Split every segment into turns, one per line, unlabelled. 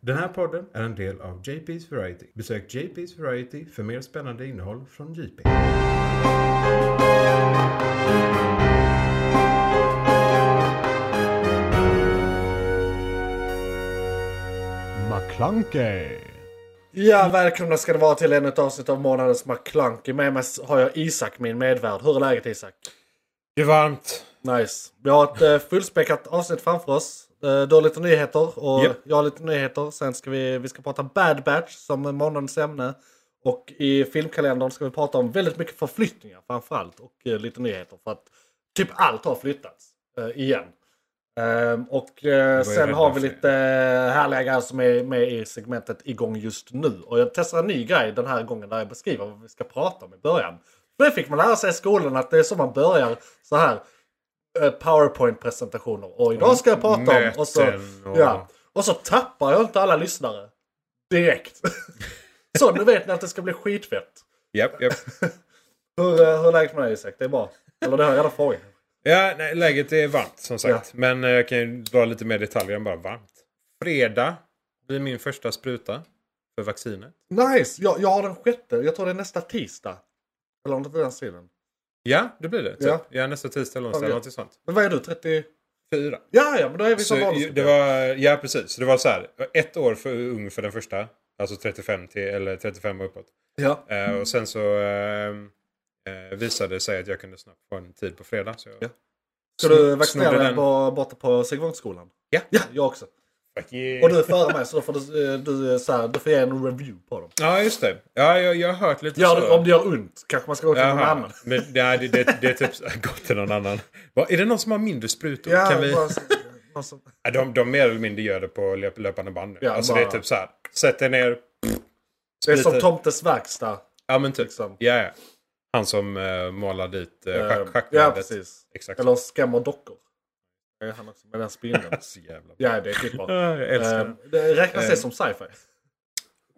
Den här podden är en del av JP's Variety. Besök JP's Variety för mer spännande innehåll från JP.
McClunkey.
Ja, välkomna ska det vara till ännu ett avsnitt av månadens McClunky. Med mig har jag Isak, min medvärd. Hur är läget Isak?
Det är varmt.
Nice. Vi har ett eh, fullspäckat avsnitt framför oss. Eh, Du har lite nyheter och
Japp.
jag har lite nyheter. Sen ska vi, vi ska prata Bad Batch som är månadens ämne. Och i filmkalendern ska vi prata om väldigt mycket förflyttningar framförallt. Och eh, lite nyheter för att typ allt har flyttats. eh, igen. Ehm, och eh, sen
rädd
har vi
för det.
lite härliga grejer som är med i segmentet igång just nu. Och jag testar en ny grej den här gången där jag beskriver vad vi ska prata om i början. Det fick man lära sig i skolan att det är så man börjar så här. eh, Powerpoint-presentationer. Och idag ska jag prata om... Och så,
Möten och-
ja, och så tappar jag inte alla lyssnare. Direkt. så nu vet ni att det ska bli skitfett.
Japp, japp.
Hur, eh, hur är läget med dig Isak? Det är bra? Eller det har jag redan frågat.
Ja, nej, läget är varmt som sagt. Men eh, jag kan ju dra lite mer detaljer än bara varmt. Fredag blir min första spruta för vaccinet.
Nice! Jag, jag har den sjätte. Jag tror det är nästa tisdag. Eller om det är den sidan.
Ja, det blir det. Typ.
Ja.
Ja. nästa tisdag eller
Ja,
onsdag
det-
eller någonting sånt.
Men vad är du? 30?
Fyra.
Ja, ja, men då är
Så
vi som vanligt.
ju- det var, ja, precis. Så det var så här. Ett år för ung för den första. Alltså 35 till, eller 35 och uppåt.
Ja.
Eh, och sen så ehm, eh, visade det sig att jag kunde snabbt få en tid på fredag. Så jag,
Ja. Ska du
Snodde
vaccinera dig
den.
på, borta på Sigvångsskolan?
Ja.
Ja, jag också.
Fuck yeah.
Och du är före mig så då får du, eh, du, eh, så här, du får ge en review på dem.
Ja, just det. Ja, jag, jag har hört lite
Gör
så.
det, om det gör ont kanske man ska gå till någon
Jaha.
annan.
Men, nej, det, det, det är typ så- gått till någon annan. Va, är det någon som har mindre sprutor?
Ja,
kan vi...
bara så- någon som-
Nej, de, de mer eller mindre gör det på löp, löpande band nu.
Ja,
alltså
bara-
det är typ så här. Sätt er ner.
det är som
Lite-
Tomtes verkstad.
Ja, men typ.
Liksom.
Ja, ja. Han som uh, målar dit uh,
Eh,
schack,
ja,
schackbrädet.
precis.
Exakt.
Eller skrämmer dockor. Det är han också med den spindeln.
Så jävla bra.
ja, det är skitbra.
Ja, jag älskar Ehm.
Eh,
det.
det räknas det som sci-fi?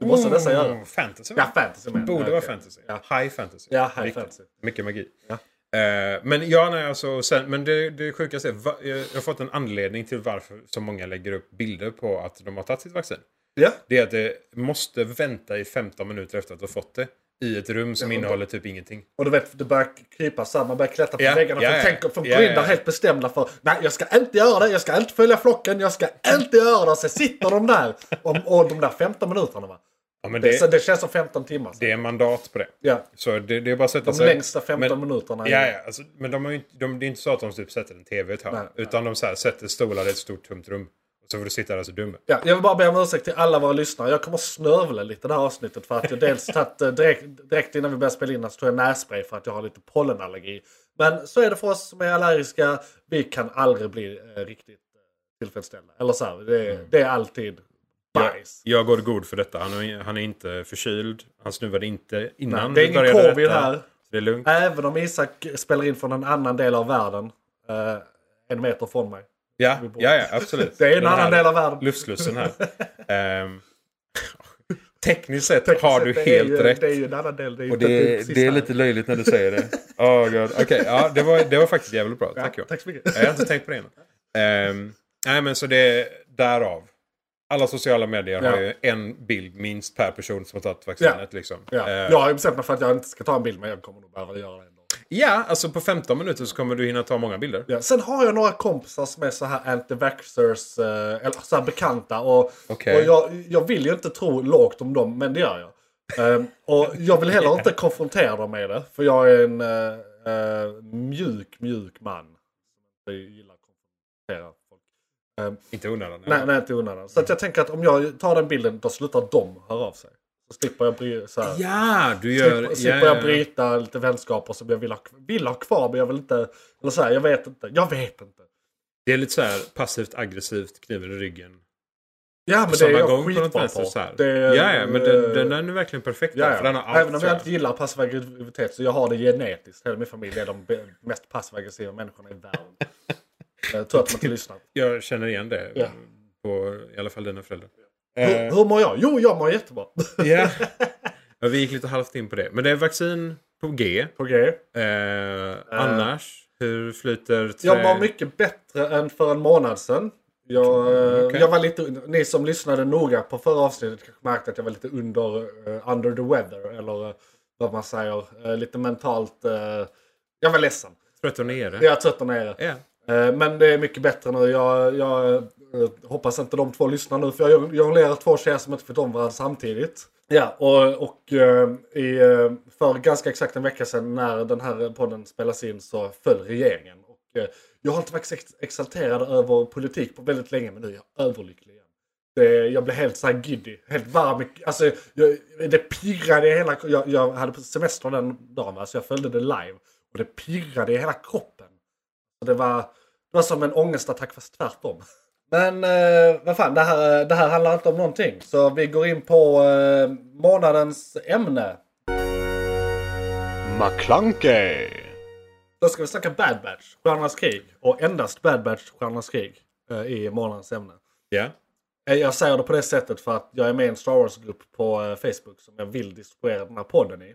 Du måste nästan göra det.
Oh, Fantasy va?
Ja, fantasy menar jag.
Borde
Ja,
vara
okej.
fantasy.
Ja.
High fantasy.
Ja, high
Viktigt.
fantasy.
Mycket magi.
Ja.
Eh, men ja, nej, alltså, sen, men det, det sjukaste är va, jag har fått en anledning till varför så många lägger upp bilder på att de har tagit sitt vaccin.
Ja.
Det är att det måste vänta i 15 minuter efter att du har fått det. I ett rum som innehåller typ ingenting.
Och du vet, det börjar krypa så här, man börjar klättra på
Ja,
väggarna.
ja,
för
ja.
tänker, för
Ja,
går in där
ja.
helt bestämda för nej jag ska inte göra det, jag ska inte följa flocken, jag ska inte göra det. Så sitter de där och, och de där 15 minuterna va.
Ja, men
Det, så
det,
det känns som 15 timmar.
det är mandat på det.
Ja.
Så det, det är bara att sätta
De längsta 15
men,
minuterna. är-
Ja, ja alltså, men de har ju, inte- de, det är inte så att de typ sätter en tv i ett hörn.
Nej,
Utan de så här, sätter stolar i ett stort tomt rum. Och så får du sitta där så dum.
Ja, jag vill bara be om ursäkt till alla våra lyssnare. Jag kommer snörvla lite det här avsnittet. För att jag dels tagit, eh, direkt, direkt innan vi började spela in här så tog jag nässpray för att jag har lite pollenallergi. Men så är det för oss som är allergiska. Vi kan aldrig bli eh, riktigt eh, tillfredsställda. Eller så här, det,
Mm.
det är alltid
Jag,
bajs.
jag går i god för detta. Han är, han är inte förkyld. Han snuvade inte innan
det är
vi
ingen
började
covid
detta.
här.
Det är lugnt.
Även om Isak spelar in från en annan del av världen. Eh, en meter från mig.
Ja, ja, ja absolut.
Det är en
Den
annan
här
del av världen.
Luftslussen här. Ehm, tekniskt sett
Tekniskt
har
sett,
du
det är
helt
ju,
rätt.
Det är ju en annan del. Det är, ju
Och
inte
det,
typ sista
det är
här.
lite löjligt när du säger det. Oh God. Okej, ja, det, var, det var faktiskt jävligt bra. Tack
Ja,
Johan.
tack så mycket.
Jag har inte tänkt på det innan. Ehm, nej, men så det är därav. Alla sociala medier har
Ja.
ju en bild minst per person som har tagit vaccinet. Liksom.
Ja.
Ehm,
jag har ju bestämt mig för att jag inte ska ta en bild men jag kommer nog behöva göra det ändå.
ja, alltså på 15 minuter så kommer du hinna ta många bilder.
Ja. Sen har jag några kompisar som är så här anti-vaxxers, eh, eller så här bekanta. Och,
Okej.
och jag, jag vill ju inte tro lågt om dem, men det gör jag. Ehm, och jag vill heller inte konfrontera dem med det, för jag är en eh, eh, mjuk, mjuk man. Som inte gillar att konfrontera folk.
Inte onödan.
Nej, nej, inte i onödan. Så att jag tänker att om jag tar den bilden, då slutar de höra av sig. Så slipper jag bry så här,
Ja, du gör...
Slipper,
ja,
slipper
ja,
jag
ja.
bryta lite vänskaper som jag vill ha, vill ha kvar men jag vill inte... Eller så här, jag vet inte. Jag vet inte.
Det är lite så här passivt aggressivt, kniven i ryggen.
Ja men
På
det är
samma
jag
gång på något
skitbra
vänster
på.
så här.
Det är- eh,
ja, ja, men den, den är nu verkligen perfekt.
Ja,
där,
ja.
För den har allt,
Även om
tror
jag inte gillar passiv aggressivitet så jag har det genetiskt. Hela min familj är de be- mest passiv aggressiva människorna i världen. Jag tror att man inte lyssnar.
jag känner igen det.
Ja.
På i alla fall dina föräldrar. Eh,
Hur, hur mår jag? Jo, jag mår jättebra.
Ja. ja, vi gick lite halvt in på det. Men det är vaccin på G.
Okej.
Eh, Annars, hur flyter... trä- Eh.
Jag mår mycket bättre än för en månad sedan. Jag, eh,
Okej.
jag var lite, under- ni som lyssnade noga på förra avsnittet kanske märkte att jag var lite under eh, under the weather. Eller eh, vad man säger. eh, lite mentalt. eh, jag var ledsen.
Trött och nere.
Jag är trött och nere.
Ja.
Eh, Men det är mycket bättre nu. Jag, jag eh, hoppas inte de två lyssnar nu. För jag jonglerar två tjejer som inte vet om varandra samtidigt. Ja, och, och eh, i, eh, för ganska exakt en vecka sedan när den här podden spelas in så föll regeringen. Och, eh, jag har inte varit ex- exalterad över politik på väldigt länge men nu är jag överlycklig igen. Det, jag blev helt så här giddy. Helt varm. i- Alltså, jag, det pirrade i hela jag, jag hade på semester den dagen va, så jag följde det live. Och det pirrade i hela kroppen. Och Det var, det var som en ångestattack fast tvärtom. Men eh, vad fan, det här, det här handlar inte om någonting. Så vi går in på eh, månadens ämne.
McClunkey!
Då ska vi snacka Bad Batch, Stjärnornas krig. Och endast Bad Batch, Stjärnornas krig eh, i månadens ämne.
Ja.
Eh, Jag säger det på det sättet för att jag är med i en Star Wars-grupp på eh, Facebook som jag vill distribuera den här podden i.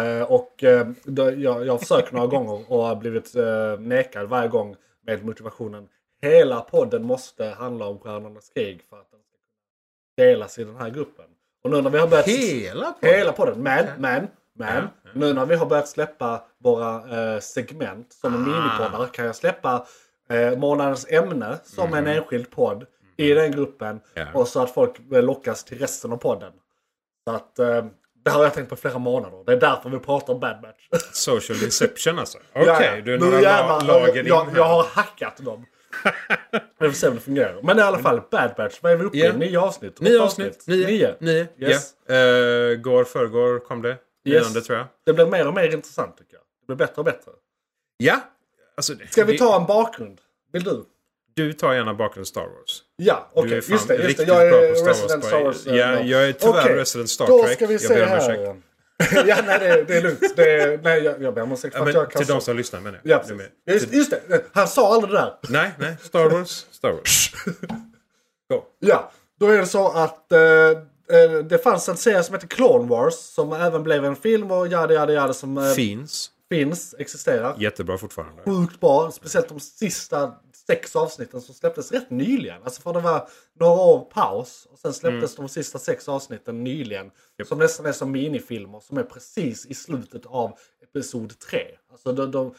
Eh, Och eh, då, jag, jag har försökt några gånger och har blivit eh, nekad varje gång med motivationen Hela podden måste handla om Stjärnornas krig för att den ska kunna delas i den här gruppen. Och nu när vi har börjat...
Hela på
Hela podden. Men, men, men. Nu när vi har börjat släppa våra eh, segment som
Ah.
en minipoddar kan jag släppa eh, månadens ämne som en enskild podd i den gruppen.
Mm. Ja.
Och så att folk eh, lockas till resten av podden. Så att eh, det har jag tänkt på i flera månader. Det är därför vi pratar om Bad Batch.
Social deception alltså. Okej, du är
Nu
några la-
jävlar,
lager
jag,
in
jag,
här.
jag har hackat dem. Vi får se om det fungerar. Men i alla fall, Bad Batch. Vad är vi uppe
Ja.
i? Nio avsnitt?
Nio
Åtta
avsnitt. Nio.
Nio.
Nio.
Yes.
Ja. Eh, går, förrgår kom det.
Yes.
Nionde tror jag.
Det blir mer och mer intressant tycker jag. Det blir bättre och bättre.
Ja. Alltså,
Ska vi
det-
ta en bakgrund? Vill du?
Du tar gärna bakgrund Star Wars.
Ja, okej.
Du är fan
Just det, just det.
riktigt
Jag
bra på
är
Star
resident
Wars.
Star Wars. eh,
Ja,
nörd.
jag är tyvärr
Okej,
resident Star
Då
Trek.
ska vi
Jag
se
ber om
här. ja, nej det, det är lugnt. Det är, nej, jag, jag ber om ursäkt för
Ja,
att
men,
jag kan...
till de
så-
som lyssnar menar jag.
Ja,
Du
precis.
med.
Just, just det, han sa aldrig det där.
Nej, nej. Star Wars. Star Wars. Go.
Ja, då är det så att eh, eh, det fanns en serie som heter Clone Wars som även blev en film och jada jada jada som eh,
Finns.
finns, existerar.
Jättebra fortfarande.
sjukt bra. Speciellt de sista sex avsnitten som släpptes rätt nyligen. Alltså för det var några år paus. Och sen släpptes de sista sex avsnitten nyligen. Som nästan är som minifilmer som är precis i slutet av episod 3. Alltså de, de,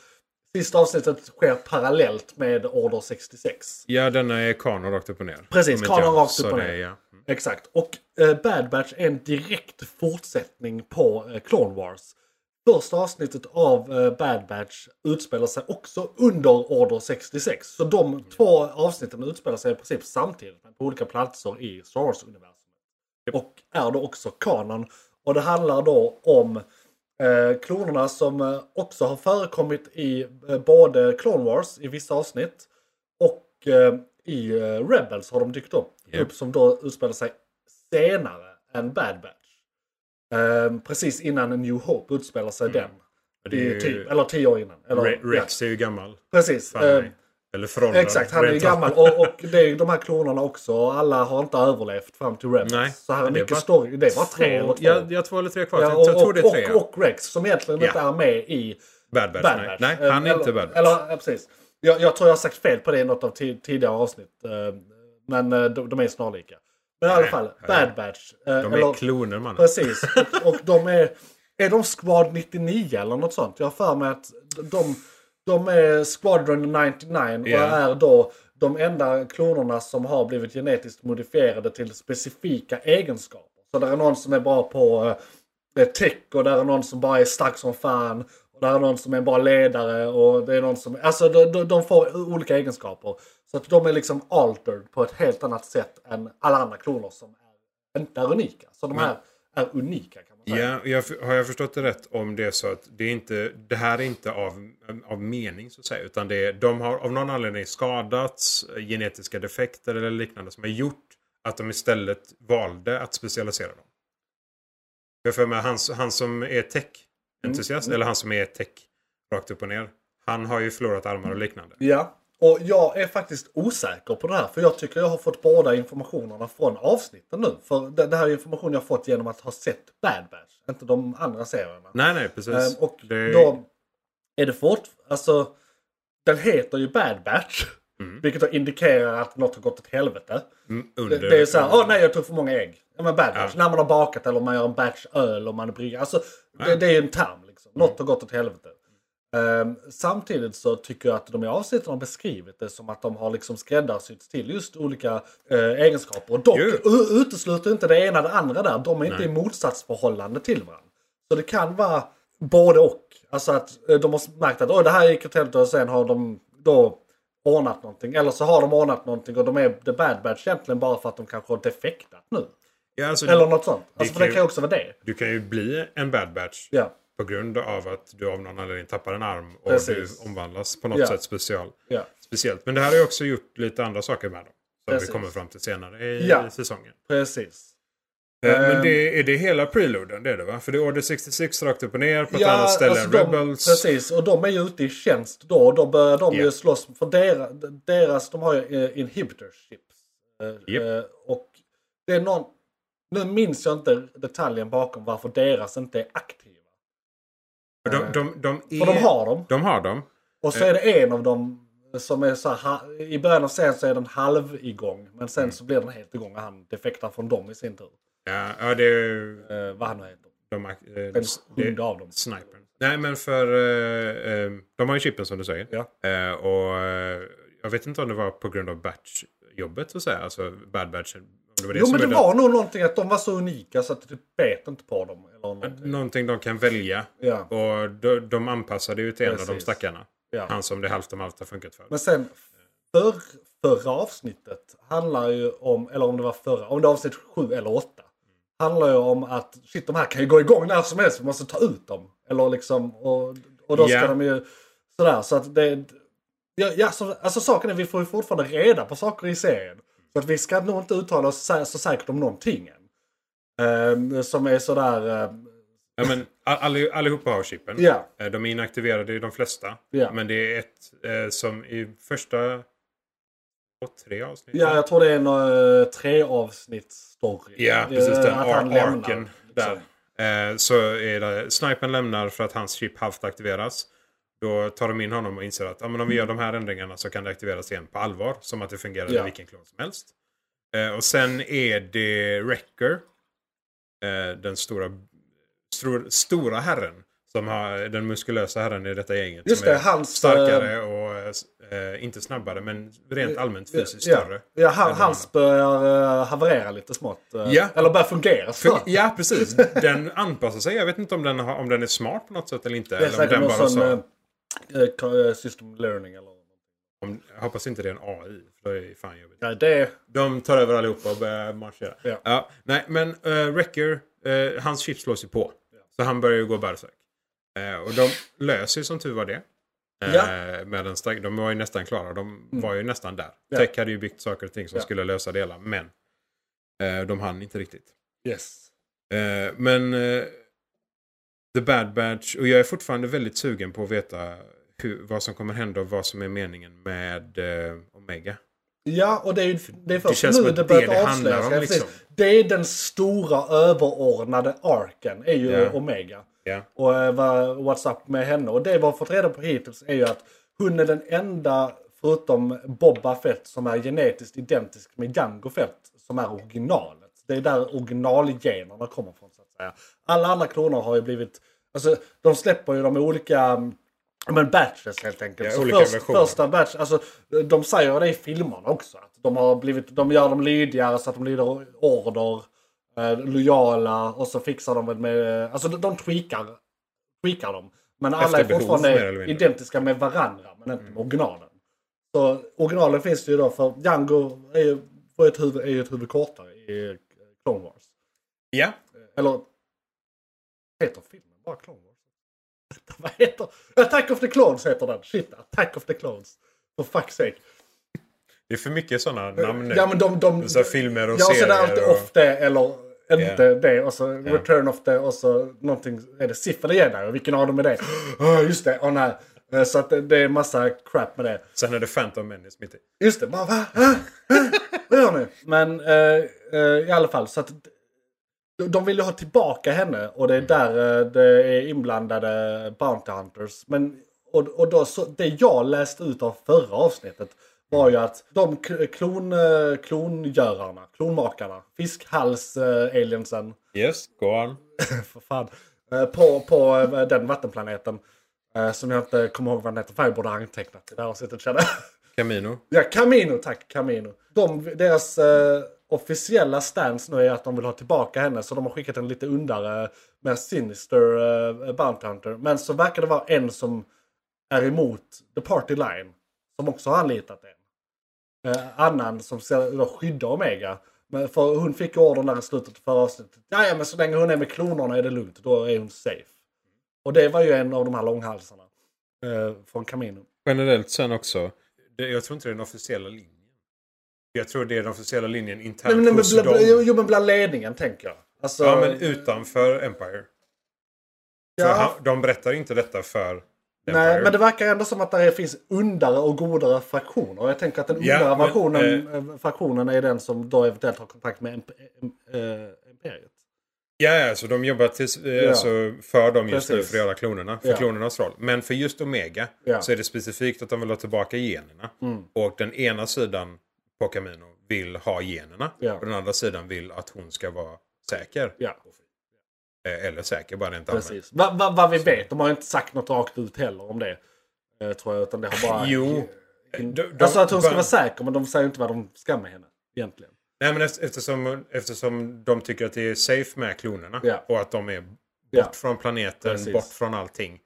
sista avsnittet sker parallellt med Order 66.
Ja, denna är kanon rakt upp och ner.
Precis,
Om inte
kanon
jag
rakt upp
sa
och
det,
ner.
ja. Mm.
Exakt. Och eh, Bad Batch är en direkt fortsättning på eh, Clone Wars. Första avsnittet av eh, Bad Batch utspelar sig också under Order 66. Så de två avsnitten utspelar sig i princip samtidigt men på olika platser i Star Wars-universumet. Och är då också kanon. Och det handlar då om eh, klonerna som eh, också har förekommit i eh, både Clone Wars i vissa avsnitt och eh, i eh, Rebels har de dykt upp.
Japp.
upp som då utspelar sig senare än Bad Batch. Eh, precis innan A New Hope utspelar sig den.
Mm. det är
I
ju-
typ, eller tio år innan. Eller,
Re- Rex är ju gammal.
Ja, precis.
Fan,
Eh,
nej. Eller föråldrad.
Exakt, han är ju
rent av.
gammal. Och, och det är ju de här klonerna också. Och alla har inte överlevt fram till Rebels.
Nej,
så här är
det
mycket
var
story. Det var tre eller två.
Ja, jag har två eller tre kvar.
Ja,
jag tror-
och,
tror det är tre.
och,
ja.
och Rex som egentligen inte
Ja.
är med i
Bad Batch.
Bad
nej.
Batch.
Nej, han är
eller,
inte Bad Batch.
Eller, ja, precis. Jag, jag tror jag har sagt fel på det i något av ti- tidigare avsnitt. eh, Men eh, de, de är snarlika. Men i alla fall,
ja.
Bad Batch. eh,
De
eller-
är kloner man.
Precis. Och, och de är... Är de Squad 99 eller något sånt? Jag har för mig att de, de är Squadron 99
Ja.
och är då de enda klonerna som har blivit genetiskt modifierade till specifika egenskaper. Så där är någon som är bra på eh, tech och där är någon som bara är stark som fan. Och där är någon som är en bra ledare och det är någon som... Alltså de, de, de får olika egenskaper. Så att de är liksom altered på ett helt annat sätt än alla andra kloner som är, inte är unika. Så de här är unika kan man säga.
Ja, jag, har jag förstått det rätt om det är så att det, är inte, det här är inte av, av mening så att säga. Utan det är, de har av någon anledning skadats, eh, genetiska defekter eller liknande som har gjort att de istället valde att specialisera dem. Jag för mig, han, han som är tech-entusiast,
Mm.
eller han som är tech rakt upp och ner. Han har ju förlorat armar
Mm.
och liknande.
Ja, och jag är faktiskt osäker på det här. För jag tycker jag har fått båda informationerna från avsnitten nu. För det, det här är information jag har fått genom att ha sett Bad Batch. Inte de andra serierna.
Nej, nej, precis.
Ehm, och
Det-
då är det fort... Alltså, den heter ju Bad Batch. Vilket då indikerar att något har gått åt helvete.
Mm,
Det,
Under,
det är ah, ju såhär, åh nej jag tog för många ägg. Ja men bad
Ja.
batch. När man har bakat eller om man gör en batch öl och man är brygger. Alltså, det,
Ja. Mm.
det är ju en term liksom. Något har gått åt helvete. Ehm, samtidigt så tycker jag att de i avsnitten har beskrivit det som att de har liksom skräddarsytts till just olika eh, egenskaper. Och dock
Jo.
u- utesluter inte det ena det andra där. De är inte
Nej.
i motsatsförhållande till varandra. Så det kan vara både och. Alltså att eh, de har märkt att Oj, det här gick åt helvete och sen har de då ordnat någonting. Eller så har de ordnat någonting och de är the bad batch egentligen bara för att de kanske har defektat nu.
ja, alltså,
Eller något sånt. Alltså,
är
för det
kul.
kan ju också vara det.
Du kan ju bli en bad batch
Ja.
på grund av att du av någon anledning tappar en arm och
Precis.
du omvandlas på något
Ja.
sätt special,
ja.
speciellt. Men det här har ju också gjort lite andra saker med dem. Som
Precis.
vi kommer fram till senare i
Ja.
säsongen.
Precis.
Eh,
Ehm.
Men det, är det hela preloaden? Det är det va? För det är Order 66 rakt upp och ner på ett annat ställe än
alltså de,
Rebels.
Precis, och de är ju ute i tjänst då. Och då börjar de
Ja.
ju slåss. För deras, deras de har ju eh, inhibitor chips. Eh,
Japp.
eh, Och det är någon... Nu minns jag inte detaljen bakom varför deras inte är aktiva.
de, de, de, är,
För de har dem.
de har dem.
Och så
Eh.
är det en av dem som är så här, ha- i början av serien så är den halv igång. Men sen
Mm.
så blir den helt igång och han defektar från dem i sin tur.
Ja, ja, det är ju...
Eh, vad han nu heter.
De, ak- eh,
En
det,
hund av dem.
Snipern. Nej men för... eh, eh, de har ju chippen som du säger.
Ja.
Eh, och eh, jag vet inte om det var på grund av batchjobbet så att säga. Alltså bad batch. Om det var det
Jo
som
men det
gjorde
var nog någonting att de var så unika så att du bet inte på dem. Eller
att-
någonting.
Någonting de kan välja.
Ja,
Och de, de anpassade ju till en av de
Precis.
stackarna.
ja.
Han som det halvt om halvt har funkat för.
Men sen för, förra avsnittet handlar ju om, eller om det var förra, om det var avsnitt sju eller åtta. Handlar ju om att shit de här kan ju gå igång när som helst, vi måste ta ut dem. Eller liksom, och, och då ska
Ja.
de ju sådär så att det... Ja, ja, så, alltså saken är vi får ju fortfarande reda på saker i serien. Så att vi ska nog inte uttala oss sä- så säkert om någonting än. Ehm, som är sådär... ehm,
Ja, men all- alli- allihopa har chippen.
Ja.
Eh, De är inaktiverade i de flesta.
Ja.
Men det är ett eh, som i första två, tre avsnitt.
Ja, jag tror det är en uh, tre avsnitt story.
Ja, precis. Den
Eh, att
ar-
han lämnar,
arken
liksom.
där. Eh, så är det, snipern lämnar för att hans chip halvt aktiveras. Då tar de in honom och inser att ah, men om vi gör de här ändringarna så kan det aktiveras igen på allvar. Som att det fungerar
Ja.
i vilken klon som helst. Eh, och sen är det Wrecker. Eh, den stora, stor, stora herren. Som har, den muskulösa herren i detta gänget.
Just
som är
det, hans... eh,
starkare och eh, s- eh, inte snabbare men rent allmänt fysiskt
ja,
större.
Ja,
än
han,
de andra.
hans börjar eh, haverera lite smått. eh,
Ja.
Eller börjar fungera
För,
snart.
ja, precis. Den anpassar sig. Jag vet inte om den, har, om den är smart på något sätt eller inte.
det
Eller
är
om
säkert
den
någon
bara
sån
så,
eh, eh, ka- eh, system learning eller något.
om, jag hoppas inte det är en AI. För det är fan jobbigt.
Nej, det...
De tar över allihopa och börjar marschera.
Ja.
nej, men uh, Wrecker, eh, hans chip slås ju på. Så han börjar ju gå bärsärk. Eh, och de löser ju som tur var det. Eh, med en stark, de var ju nästan klara. De var ju nästan där.
Mm. Ja.
Tech hade ju byggt saker och ting som
Ja.
skulle lösa det hela. Men eh, de hann inte riktigt.
Yes.
Eh, men eh, The Bad Batch, och jag är fortfarande väldigt sugen på att veta hur, vad som kommer hända och vad som är meningen med eh, Omega.
Ja, och det är ju det är
det
först
känns som
nu
att
det
det
börjar
det handlar
avslöjas.
om,
Ja, precis.
liksom.
Det är den stora överordnade arken, är ju
Ja.
Omega.
Ja.
Och eh, vad- what's up med henne. Och det vi har fått reda på hittills är ju att hon är den enda, förutom Boba Fett, som är genetiskt identisk med Jango Fett, som är originalet. Det är där originalgenerna kommer från, så att säga. Alla andra kloner har ju blivit... Alltså, de släpper ju de olika... mm, Ja, Men batches helt enkelt.
Ja,
så
olika
först,
versioner.
första batch, alltså, de säger det i filmerna också. Att de, har blivit, de gör dem lydigare så att de lyder order, eh, lojala och så fixar de väl med... Alltså de, de tweakar, tweakar dem. Men alla
Efter
är
behov, mer eller
fortfarande
mindre. Mm.
identiska med varandra men inte med originalen. Så originalen finns det ju då för Django är ju, får ett huvud, är ju ett huvud kortare i Clone Wars.
ja.
Eller... Heter filmen bara Clone Wars? Vad heter... Attack of the Clones heter den. Shit, Attack of the Clones. For fuck's sake.
Det är för mycket sådana namn nu.
Eh, Ja men de... de
så här filmer och
ja, och så är det
serier
alltid
och-
off det eller inte det. Och så Return of the och så någonting. Är det Sif eller Jedi? Vilken av dem är det? Oh, just det, åh nej. Eh, Så att det, det är massa crap med det.
Sen är det Phantom Menace mitt i.
Just det, bara va? Ah, ah, Vad gör ni? Men eh, eh, i alla fall så att de- de vill ju ha tillbaka henne och det är där eh, det är inblandade Bounty Hunters. Men, och, och då, så, det jag läste ut av förra avsnittet var ju att de k- klon, eh, klongörarna, klonmakarna, fiskhals-aliensen,
Yes, go on.
för fan, eh, på, på eh, den vattenplaneten. eh, Som jag inte kommer ihåg vad den heter, för jag borde ha antecknat i det här avsnittet känner jag.
Camino.
Ja, Camino, tack. Camino. De, deras eh, officiella stance nu är att de vill ha tillbaka henne så de har skickat en lite undare med Sinister eh, Bounty Hunter. Men så verkar det vara en som är emot The Party Line. Som också har anlitat en. Eh, annan som ska då skydda Omega. Men för hon fick ju ordern där i slutet av förra avsnittet. Ja, men så länge hon är med klonerna är det lugnt. Då är hon safe. Och det var ju en av de här långhalsarna. Eh, från Camino.
Generellt sen också. Det, jag tror inte det är den officiella linjen. Jag tror det är den officiella linjen internt
Nej, men, men,
hos
bland-
dem.
jo, jo, men bland ledningen tänker jag. Alltså,
Ja, men utanför Empire. För
Ja.
han, de berättar inte detta för Empire.
nej, men det verkar ändå som att det finns undare och godare fraktioner. Och Jag tänker att den
Ja,
undare
men,
versionen, eh, fraktionen är den som då eventuellt har kontakt med imp- im- eh, Imperiet.
Ja, ja, så de jobbar tills, eh,
Ja.
alltså, för dem just nu
Precis.
för att göra klonerna. För
Ja.
klonernas roll. Men för just Omega
Ja.
så är det specifikt att de vill ha tillbaka generna.
Mm,
Och den ena sidan på Camino vill ha generna.
Ja.
Och den andra sidan vill att hon ska vara säker.
Ja,
Eh, Eller säker, bara rent allmänt.
precis. Vad va, vad vi vet, de har ju inte sagt något rakt ut heller om det. eh, Tror jag, utan det har bara...
Jo. Eh, De, de,
Alltså att hon ska
de-
vara säker, men de säger inte vad de ska med henne. Egentligen.
Nej, men eft- eftersom, eftersom de tycker att det är safe med klonerna
Ja.
och att de är bort
Ja.
från planeten,
Precis.
bort från allting.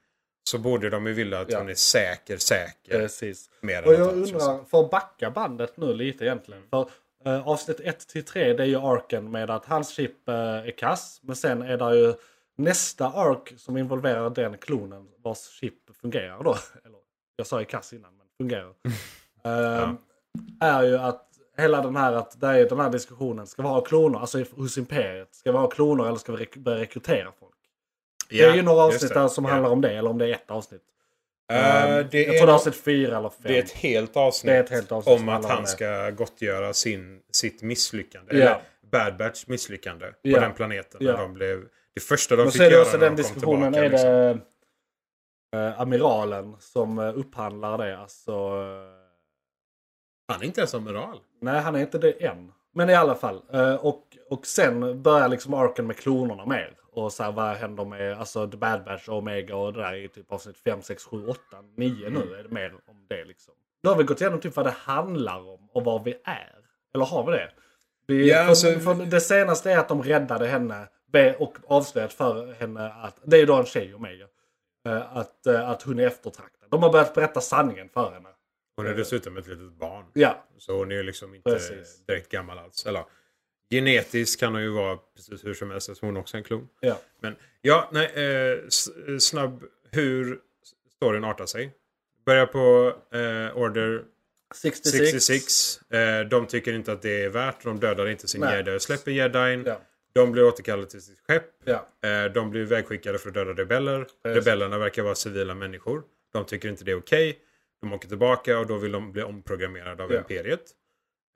Så borde de ju vilja att
Ja.
hon är säker, säker.
Precis.
Mer än
Och
något
jag
annat,
undrar, för att backa bandet nu lite egentligen. För eh, avsnitt 1 till 3 det är ju arken med att hans chip eh, är kass. Men sen är det ju nästa ark som involverar den klonen vars chip fungerar då. Eller, jag sa ju kass innan, men fungerar. Eh, Är ju att hela den här, att det är den här diskussionen, ska vi ha kloner, alltså i- hos Imperiet, ska vi ha kloner eller ska vi rek- börja rekrytera folk? det är ju några avsnitt där som handlar om det, eller om det är ett avsnitt.
Eh,
Eh,
det
jag
är
tror det är avsnitt fyra eller fem.
Det är ett helt avsnitt,
Det är ett helt avsnitt
om
som
att
handlar om
han
det.
ska gottgöra sin, sitt misslyckande.
Ja.
Eller Bad Batch misslyckande
Ja.
på den planeten.
Ja.
När de blev, det första de
Men
fick
så är det
göra
också
när
den
de kom
diskussionen,
tillbaka.
är
liksom.
det eh, amiralen som eh, upphandlar det? Alltså, eh,
Han är inte ens amiral.
nej, han är inte det än. Men i alla fall. eh, och, och sen börjar liksom arken med klonerna mer. Och så här, vad händer med alltså, The Bad Batch och Omega och det där i typ avsnitt 5, 6, 7, 8, 9
Mm.
nu är det mer om det liksom. Nu har vi gått igenom typ vad det handlar om och vad vi är. Eller har vi det? Vi,
Ja,
för,
alltså-
för det senaste är att de räddade henne be- och avslöjat för henne att, det är ju då en tjej Omega, eh, att, eh, att hon är eftertraktad. De har börjat berätta sanningen för henne.
Hon är dessutom ett litet barn.
Ja,
Så hon är ju liksom inte
Precis.
direkt gammal alls. Eller, genetiskt kan hon ju vara precis hur som helst eftersom hon också är en klon.
ja.
Men ja, nej, eh, s- snabb hur storyn artar sig. Börjar på eh, Order
66.
66. Eh, de tycker inte att det är värt. De dödar inte sin
Nej.
jedi och släpper jedin.
Ja.
De blir återkallade till sitt skepp.
Ja.
Eh, de blir vägskickade för att döda rebeller. Rebellerna verkar vara civila människor. De tycker inte det är okej. De åker tillbaka och då vill de bli omprogrammerade av
Ja.
Imperiet.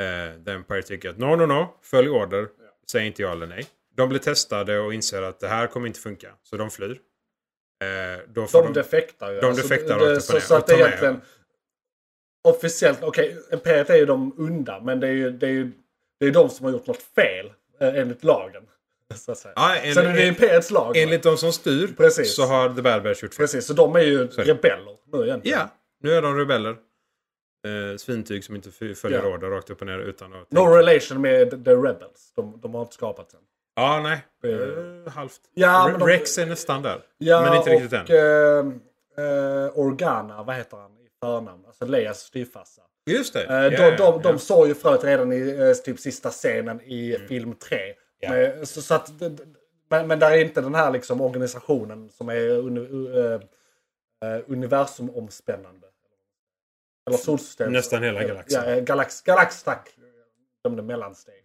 Eh, The Empire tycker att no, no, no. Följ order. Säg inte ja eller nej. De blir testade och inser att det här kommer inte funka. Så de flyr. Eh, då får
De defektar ju. Alltså,
de defektar
det-
rakt upp och
så,
ner.
så att
Och
det
tar
är
med
egentligen officiellt, okej, Imperiet är ju de onda, men det är ju, det är ju det är de som har gjort något fel eh, enligt lagen. Så att säga.
Ja, en-
Sen är det
en-
Imperiets lag.
Enligt de som styr
Precis.
så har The Bad Batch gjort fel.
Precis, så de är ju
Sorry.
rebeller nu egentligen.
Ja, nu är de rebeller. Eh, svintyg som inte f- följer
Ja.
order rakt upp och ner utan att...
No relation med the rebels. De, de har inte skapat den.
Ja, nej.
Eh.
Eh, halvt.
Ja,
Re-
men de-
Rex är nästan där.
Ja,
men inte riktigt
och
än.
eh, eh, Organa, vad heter han i förnamn? Alltså Leias styvfarsa.
Just det.
Eh, de, de, de såg ju fröet redan i eh, typ sista scenen i film 3.
Mm. Ja.
Men, eh, så, så att, det- det- men, men där är inte den här liksom organisationen som är uni, u- eh, eh, universumomspännande. Eller solsystemet.
Nästan hela
Eh,
galaxen.
Ja, eh, galax, galax, tack. Som det mellansteget.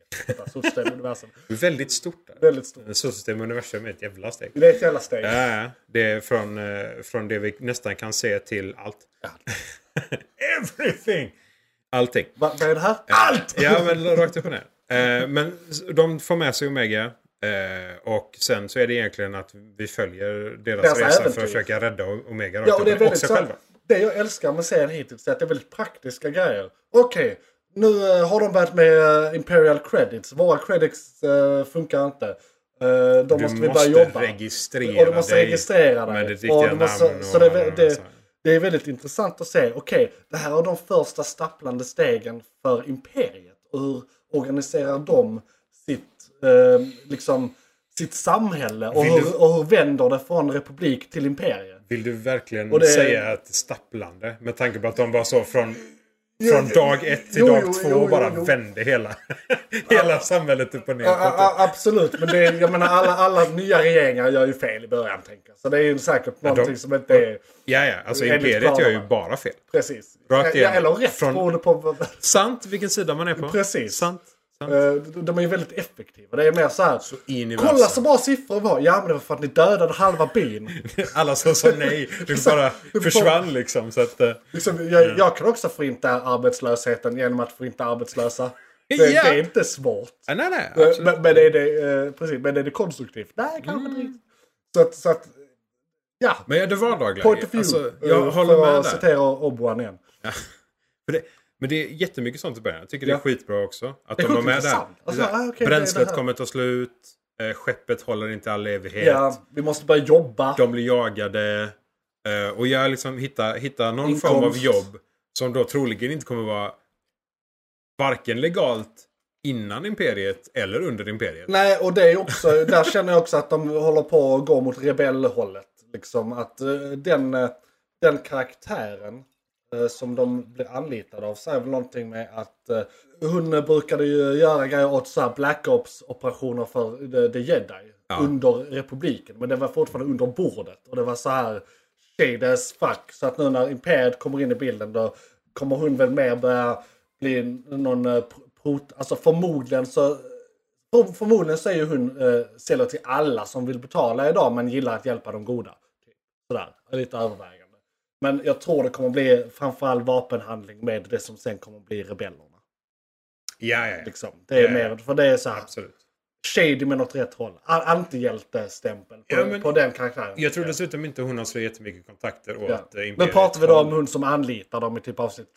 Solsystem, universum.
Väldigt stort där.
Väldigt stort.
Solsystem och universum är ett jävla steg.
Det är ett jävla steg.
Ja, ja. det är från, eh, från det vi nästan kan se till allt. Everything! Allting.
Va, vad är det här? Allt!
Ja, men rakt upp och ner. Eh, men s- de får med sig Omega. Eh, och sen så är det egentligen att vi följer deras,
Deras
resa för
äventyr.
att försöka rädda O- Omega. rakt
Ja, och
upp
det är
ner.
väldigt
sig
så,
själva.
Det jag älskar med serien hittills är att det är väldigt praktiska grejer. Okej, nu eh, har de börjat med eh, Imperial Credits. Våra credits eh, funkar inte. Eh, då
Du
måste
måste,
vi börja jobba.
registrera
och du måste
dig
registrera dig.
med ditt riktiga
och du
namn.
måste,
och
så det,
alla
är-
de här
det,
sakerna.
det är väldigt intressant att se. Okej, det här är de första stapplande stegen för imperiet. Och Hur organiserar de sitt, eh, liksom, sitt samhälle? Och
Vill
hur,
du-
och hur vänder det från republik till imperiet?
Vill du verkligen
Och det-
säga att det är stapplande? Med tanke på att de bara så från, från dag ett till
jo,
dag
jo,
två
jo, jo,
bara
jo.
vände hela, hela samhället upp och ner.
Ja, a- a- absolut, men det är, jag menar alla, alla nya regeringar gör ju fel i början. Tänker. jag. Så det är ju säkert
de-
någonting som inte är
Ja, ja. Alltså
Enligt
imperiet gör ju
planerna.
bara fel.
precis.
Rakt
Ja,
igenom.
eller rätt
Från-
beroende på vad-
Sant vilken sida man är på.
Precis.
Sant. sant.
Eh, De är ju väldigt effektiva. Det är mer så här.
in i
Kolla
vassen."
så bra siffror vi har. Ja men det var för att ni dödade halva byn.
Alla som sa nej du bara försvann liksom. Så att, eh,
Liksom, jag, jag kan också förinta arbetslösheten genom att förinta arbetslösa. Det,
Ja.
det är inte svårt.
nej, nej, nej.
Eh,
absolut. Mm.
Men, men, är det, eh, precis, men är det konstruktivt? Nej, kanske inte riktigt. Så att, så att, ja.
Men ja, det var dagläge.
Point of view.
Alltså,
eh,
jag håller
för
med
att
där.
citera Obuan igen.
För det, men det är jättemycket sånt i början. Jag tycker
Ja.
det är skitbra också. Att
Det är
de har
sjukt
med det här.
intressant.
Det är så här,
Alltså, ah, okej, det är
Bränslet
det här.
kommer ta slut. Eh, skeppet håller inte all evighet.
Ja, vi måste börja jobba.
De blir jagade. Eh, och jag liksom hittar, hittar någon
Inkomst.
form av jobb. Som då troligen inte kommer vara varken legalt innan imperiet eller under imperiet.
Nej, och det är också, där känner jag också att de håller på att gå mot rebellhållet. Liksom att eh, den, eh, den karaktären eh, som de blir anlitade av säger väl någonting med att eh, hon brukade ju göra grejer åt så här Black Ops operationer för eh, The, the Jedi
Ja.
under republiken. Men det var fortfarande under bordet och det var så här shady as fuck. Så att nu när Imperiet kommer in i bilden då kommer hon väl mer börja bli någon eh, pr- prot, alltså förmodligen så för- Förmodligen så är ju hon eh, säljer till alla som vill betala idag men gillar att hjälpa de goda. Typ. Sådär, lite övervägande. Men jag tror det kommer bli framförallt vapenhandling med det som sen kommer bli rebellerna.
Ja, ja, ja.
Liksom. Det är
Ja, ja.
mer, för det är så här
Absolut.
shady men åt rätt håll. A- Antihjältestämpel på,
Ja, men-
på den karaktären.
Jag tror dessutom inte hon har så jättemycket kontakter åt
Ja.
eh, imperiet.
Men pratar vi då om hon som anlitar dem i typ avsnitt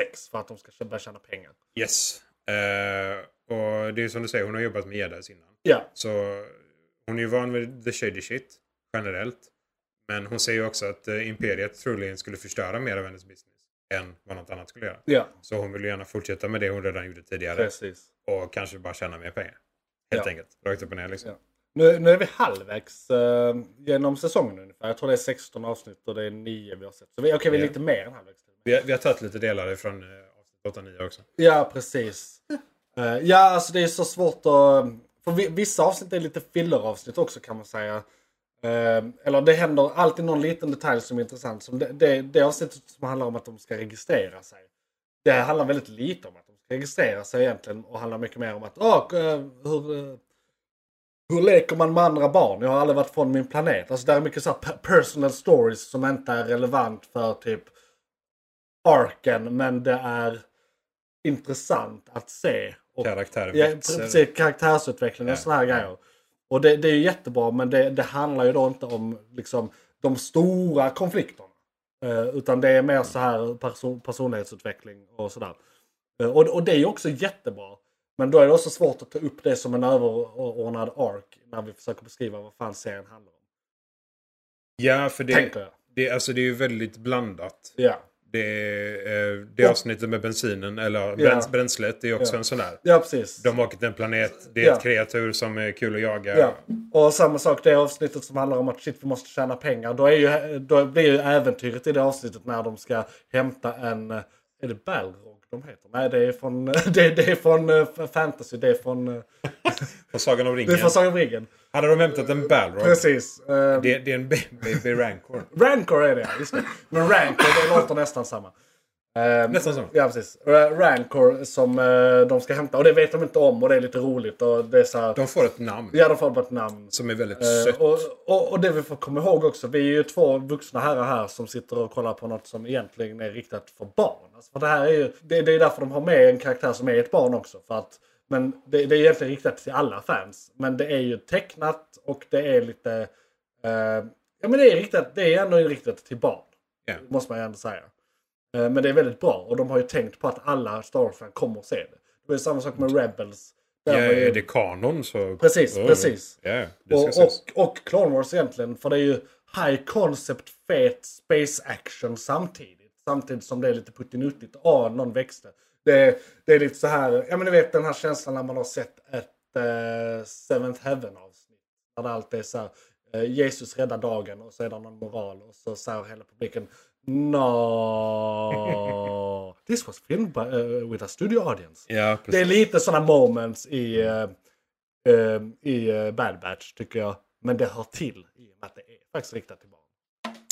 6 för att de ska tjä- börja tjäna pengar.
Yes. Eh, och det är som du säger, hon har jobbat med jedis innan.
Ja,
Så hon är ju van vid the shady shit generellt. Men hon säger ju också att eh, imperiet troligen skulle förstöra mer av hennes business än vad något annat skulle göra.
ja.
Så hon vill ju gärna fortsätta med det hon redan gjorde tidigare
precis.
och kanske bara tjäna mer pengar. Helt
Ja.
enkelt. Rakt upp och ner liksom.
Ja. Nu, nu är vi halvvägs eh, genom säsongen ungefär. Jag tror det är 16 avsnitt och det är 9 vi har sett. Så vi, okej, vi är
Ja.
lite mer än halvvägs.
Vi, har, vi har tagit lite delar ifrån eh, avsnitt 8 9 också.
Ja, precis. Eh, ja, alltså det är så svårt att... För vi- vissa avsnitt är lite filleravsnitt också kan man säga. Eh, eller det händer alltid någon liten detalj som är intressant. Som det, det, det avsnittet som handlar om att de ska registrera sig. Det här handlar väldigt lite om att de ska registrera sig egentligen. Och handlar mycket mer om att ah, eh, hur, eh, hur leker man med andra barn? Jag har aldrig varit från min planet. Alltså det är mycket så här pe- personal stories som inte är relevant för typ arken. Men det är intressant att se. Och
Karaktärer
Ja,
växer.
precis, karaktärsutveckling och
Ja.
sådana här grejer. Och det, det är ju jättebra men det, det handlar ju då inte om liksom, de stora konflikterna. Eh, utan det är mer så här perso personlighetsutveckling och sådär. Eh, och, och det är ju också jättebra. Men då är det också svårt att ta upp det som en överordnad ark när vi försöker beskriva vad fan serien handlar om.
Ja, för det,
Tänker jag.
det, alltså, det är ju väldigt blandat.
Ja,
Det, är, eh, det
Och-
avsnittet med bensinen, eller
Ja.
bräns, bränslet, det är också
Ja.
en sån här.
ja precis.
De åker till en planet, det är
Ja.
ett kreatur som är kul att jaga.
Ja. Och samma sak det avsnittet som handlar om att shit vi måste tjäna pengar. Då, är ju, då blir ju äventyret i det avsnittet när de ska hämta en... eh, Är det Balrog de heter? Nej det är från, det, det är från eh, fantasy. Det är från, eh,
Från Sagan om ringen.
det är från Sagan om ringen.
Hade de hämtat en Balrog?
Precis. Eh,
Det, det är en baby rancor.
Rancor är det ja, just det. Men Rancor det låter nästan samma. Eh,
Nästan samma.
Ja precis. Ra- Rancor som eh, de ska hämta. Och det vet de inte om och det är lite roligt. Och det är så här,
De får ett namn
Ja de får bara ett namn.
som är väldigt
Eh,
sött.
Och, och, och det vi får komma ihåg också, vi är ju två vuxna herrar här som sitter och kollar på något som egentligen är riktat för barn. Alltså, för det, här är ju, det, det är därför de har med en karaktär som är ett barn också. För att, men det, det är egentligen riktat till alla fans. Men det är ju tecknat och det är lite... Eh, ja men det är riktat, det är ändå riktat till barn.
Ja.
Måste man ju ändå säga. Eh, Men det är väldigt bra och de har ju tänkt på att alla Star Wars-fan kommer att se det. Det var ju samma sak med Rebels. Där
Ja,
var ju-
är det kanon så...
Precis,
Ja,
precis.
Ja, det ska
och,
ses.
och, och Clone Wars egentligen. För det är ju high concept, fet space action samtidigt. Samtidigt som det är lite puttinuttigt. Ja, någon växte. Det, det är lite så här, ja men ni vet den här känslan när man har sett ett eh, Seventh Heaven avsnitt. Där det alltid är så här, eh, Jesus räddar dagen och så är det någon moral och så säger hela publiken No, this was filmed by, eh, with a studio audience.
Ja,
Det är
precis.
lite sådana moments i, eh, eh, i eh, Bad Batch tycker jag. Men det hör till i och med att det är faktiskt riktat till barn.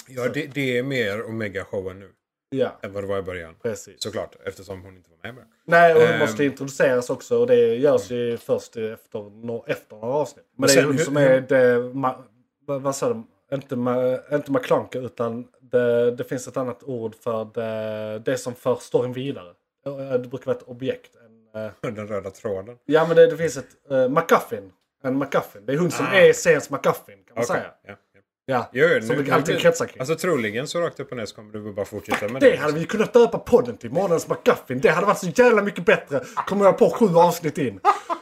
Ja, det, det är mer Omega-showen nu
Ja,
än vad det var i början.
precis.
Såklart, eftersom hon inte var med. med.
Nej, och det
Ehm.
måste introduceras också och det görs ju först efter, nå- efter några avsnitt. Men
Och
det är
sen
hon
hur-
som är det, ma, vad, vad sa de? Inte, ma, inte McClunky utan det, det finns ett annat ord för det, det som för storyn vidare. Eh, Det brukar vara ett objekt. En, eh,
Den röda tråden.
Ja men det, det finns ett uh, MacGuffin. En MacGuffin. Det är hon som
Ah.
är seriens MacGuffin kan man
Okej,
säga.
ja, ja.
Ja.
Jo, jo,
som
nu-
det alltid
nu-
kretsar kring.
Alltså troligen så rakt upp och ner så kommer du bara fortsätta med
det hade vi kunnat döpa podden till. Månadens MacGuffin. Det hade varit så jävla mycket bättre. Kommer jag på sju avsnitt in.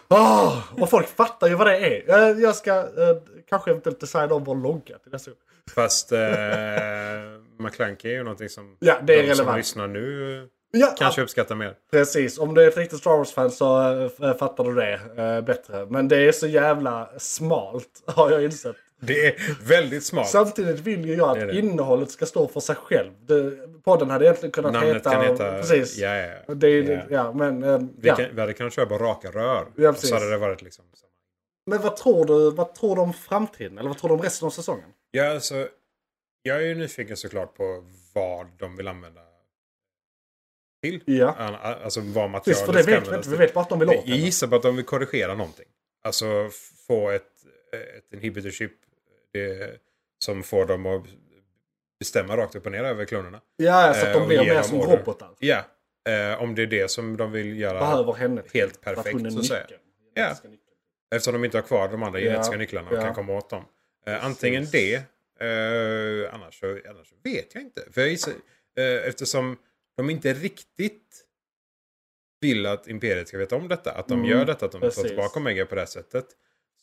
Åh, och folk fattar ju vad det är. Eh, jag ska eh, kanske eventuellt designa om vår logga till nästa gång.
Fast eh, McClunky är ju någonting som
Ja, det
de
är
som
relevant.
lyssnar nu
Ja,
kanske uppskattar mer.
Precis, om du är ett riktigt Star Wars-fan så eh, f- eh, fattar du det eh, bättre. Men det är så jävla smalt har jag insett.
Det är väldigt smart.
Samtidigt vill ju jag att
Det är det.
innehållet ska stå för sig själv. Det, podden hade egentligen kunnat
Namnet
heta...
kan heta...
Precis.
Ja, ja, ja.
Det, är-
Ja.
ja, men, eh,
Vi,
ja.
kan, vi hade kunnat köra bara raka rör.
Ja,
och
precis.
så hade det varit liksom...
men vad tror du Vad tror du om framtiden? Eller vad tror du om resten av säsongen?
Ja, alltså, jag är ju nyfiken såklart på vad de vill använda till.
Ja.
An- Alltså vad materialet
Precis, för det
ska
vet vi
användas
inte. Vi
till.
vet bara att de vill åt
Jag
henne.
gissar på att de vill korrigera någonting. Alltså f- få ett, eh, ett inhibitorship eh, som får dem att bestämma rakt upp och ner över klonerna.
Ja, så att
Eh,
de
och
blir
ge
mer
dem
som
order.
robotar.
Ja, eh, om det är det som de vill göra.
Behöver henne. till
Helt
för att
perfekt,
hon är
så att säga.
nyckeln.
Ja.
Genetiska nyckeln.
Eftersom de inte har kvar de andra
Ja,
genetiska nycklarna och
ja.
kan komma åt dem. Eh, antingen det, eh, annars, så, annars så vet jag inte. För jag gissar, eh, eftersom de inte riktigt vill att Imperiet ska veta om detta, att de
Mm,
gör detta, att de tar
precis.
tillbaka Omega på det här sättet.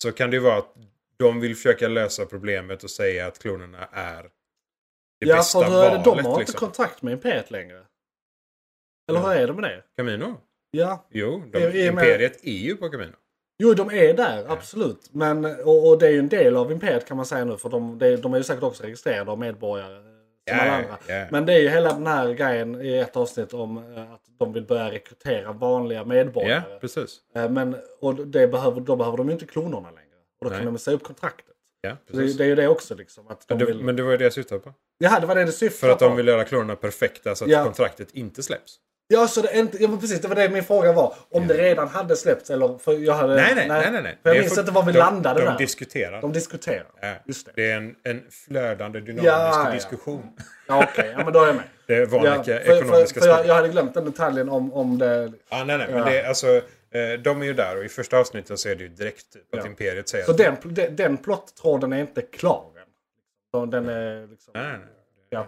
Så kan det ju vara att de vill försöka lösa problemet och säga att klonerna är det
Ja,
bästa
för då är det-
valet.
de har inte
liksom.
kontakt med Imperiet längre. Eller
Ja.
vad är det med det?
Camino?
Ja,
Jo, de,
I- i och med-
Imperiet är ju på Camino.
Jo, de är där, absolut. Men, och, och det är ju en del av Imperiet kan man säga nu. För de, det- de är ju säkert också registrerade av medborgare. eh, Som
Ja,
alla andra.
ja.
Men det är ju hela den här grejen i ett avsnitt om eh, att de vill börja rekrytera vanliga
Ja,
medborgare.
precis.
Eh, Men, och det behöver, då behöver de ju inte klonerna längre. Och då
Nej.
kan de säga upp kontraktet.
Ja,
Så Det,
precis.
det är ju det också liksom. Att de
Men det,
vill...
men det var ju det jag syftade på.
Jaha, det var det du syftade
För att
på.
de vill göra klonerna perfekta så att
Ja. Eh,
kontraktet inte släpps.
Ja, så det är inte... ja, men precis. Det var det min fråga var. Om det redan hade släppts eller... För jag hade...
Nej, nej, nej. nej, nej.
För
Det
jag
är
minns
för-
inte var vi
de,
landade
de
där.
Diskuterar.
De diskuterar.
Ja.
Just det.
är en, en flödande dynamisk
Ja, ja.
diskussion.
Ja, okej. Ja, men då är jag med.
Det är
Ja,
vanliga
för, för,
ekonomiska
för jag,
studier.
jag hade glömt den detaljen om, om det.
Ah, nej, nej, men
Ja.
det är, alltså, eh, de är ju där och i första avsnittet så är det ju direkt typ, att
Ja.
Imperiet säger
Så
att-
den, den, den plottråden är inte klar än. Så Den är liksom...
nej, nej, nej.
Ja.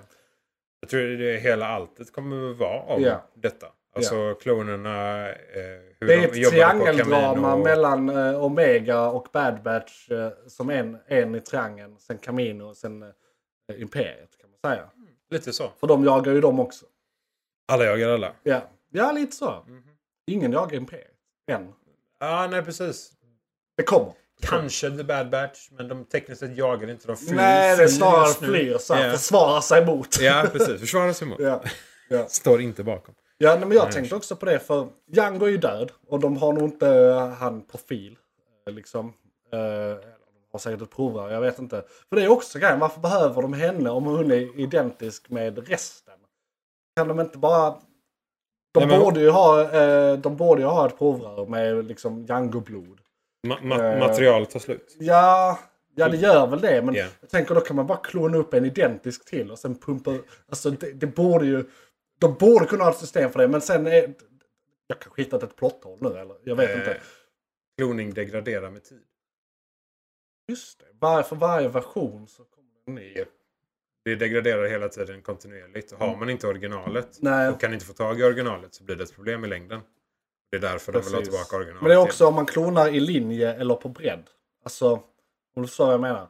Jag tror det är hela alltet kommer att vara om
Ja.
detta. Alltså klonerna, eh, hur
Det är ett
de jobbade på
triangeldrama
Camino.
mellan eh, Omega och Bad Batch eh, som en, en i triangeln, sen Camino och sen eh, Imperiet kan man säga.
Lite så.
För de jagar ju dem också.
Alla jagar alla.
Ja, ja lite så.
Mhm.
Ingen jagar Imperiet. Än.
Ja, nej precis.
Det kommer.
Kanske The Bad Batch, men de tekniskt sett jagar inte. De flyr.
Nej, det är snarare
nu.
flyr så här,
Ja.
försvarar sig mot.
Ja, precis. Försvara sig mot.
ja. ja.
Står inte bakom.
Ja, nej, men jag tänkte också på det för Django är ju död och de har nog inte eh, han på fil. eh, Liksom. Eh, eller de har säkert ett provrör, jag vet inte. För det är också grejen, varför behöver de henne om hon är identisk med resten? Kan de inte bara... De,
Nej, men-
borde, ju ha, eh, de borde ju ha ett provrör med liksom Django-blod.
Ma-
Eh.
ma- materialet tar slut.
Ja, ja, det gör väl det. Men
Ja.
jag tänker då kan man bara klona upp en identisk till och sen pumpa... Alltså det, det borde ju... De borde kunna ha ett system för det, men sen är... Jag kanske hittat ett plotthål nu, eller? Jag vet inte.
Eh, Kloning degraderar med tid.
Just det. Bara för varje version så kommer det en ny
Det degraderar hela tiden kontinuerligt. Har man inte originalet
Nej.
och kan inte få tag i originalet så blir det ett problem i längden. Det är därför de vill ha
Precis.
tillbaka originalet.
Men det är också om man klonar i linje eller på bredd. Alltså, om du förstår vad jag menar.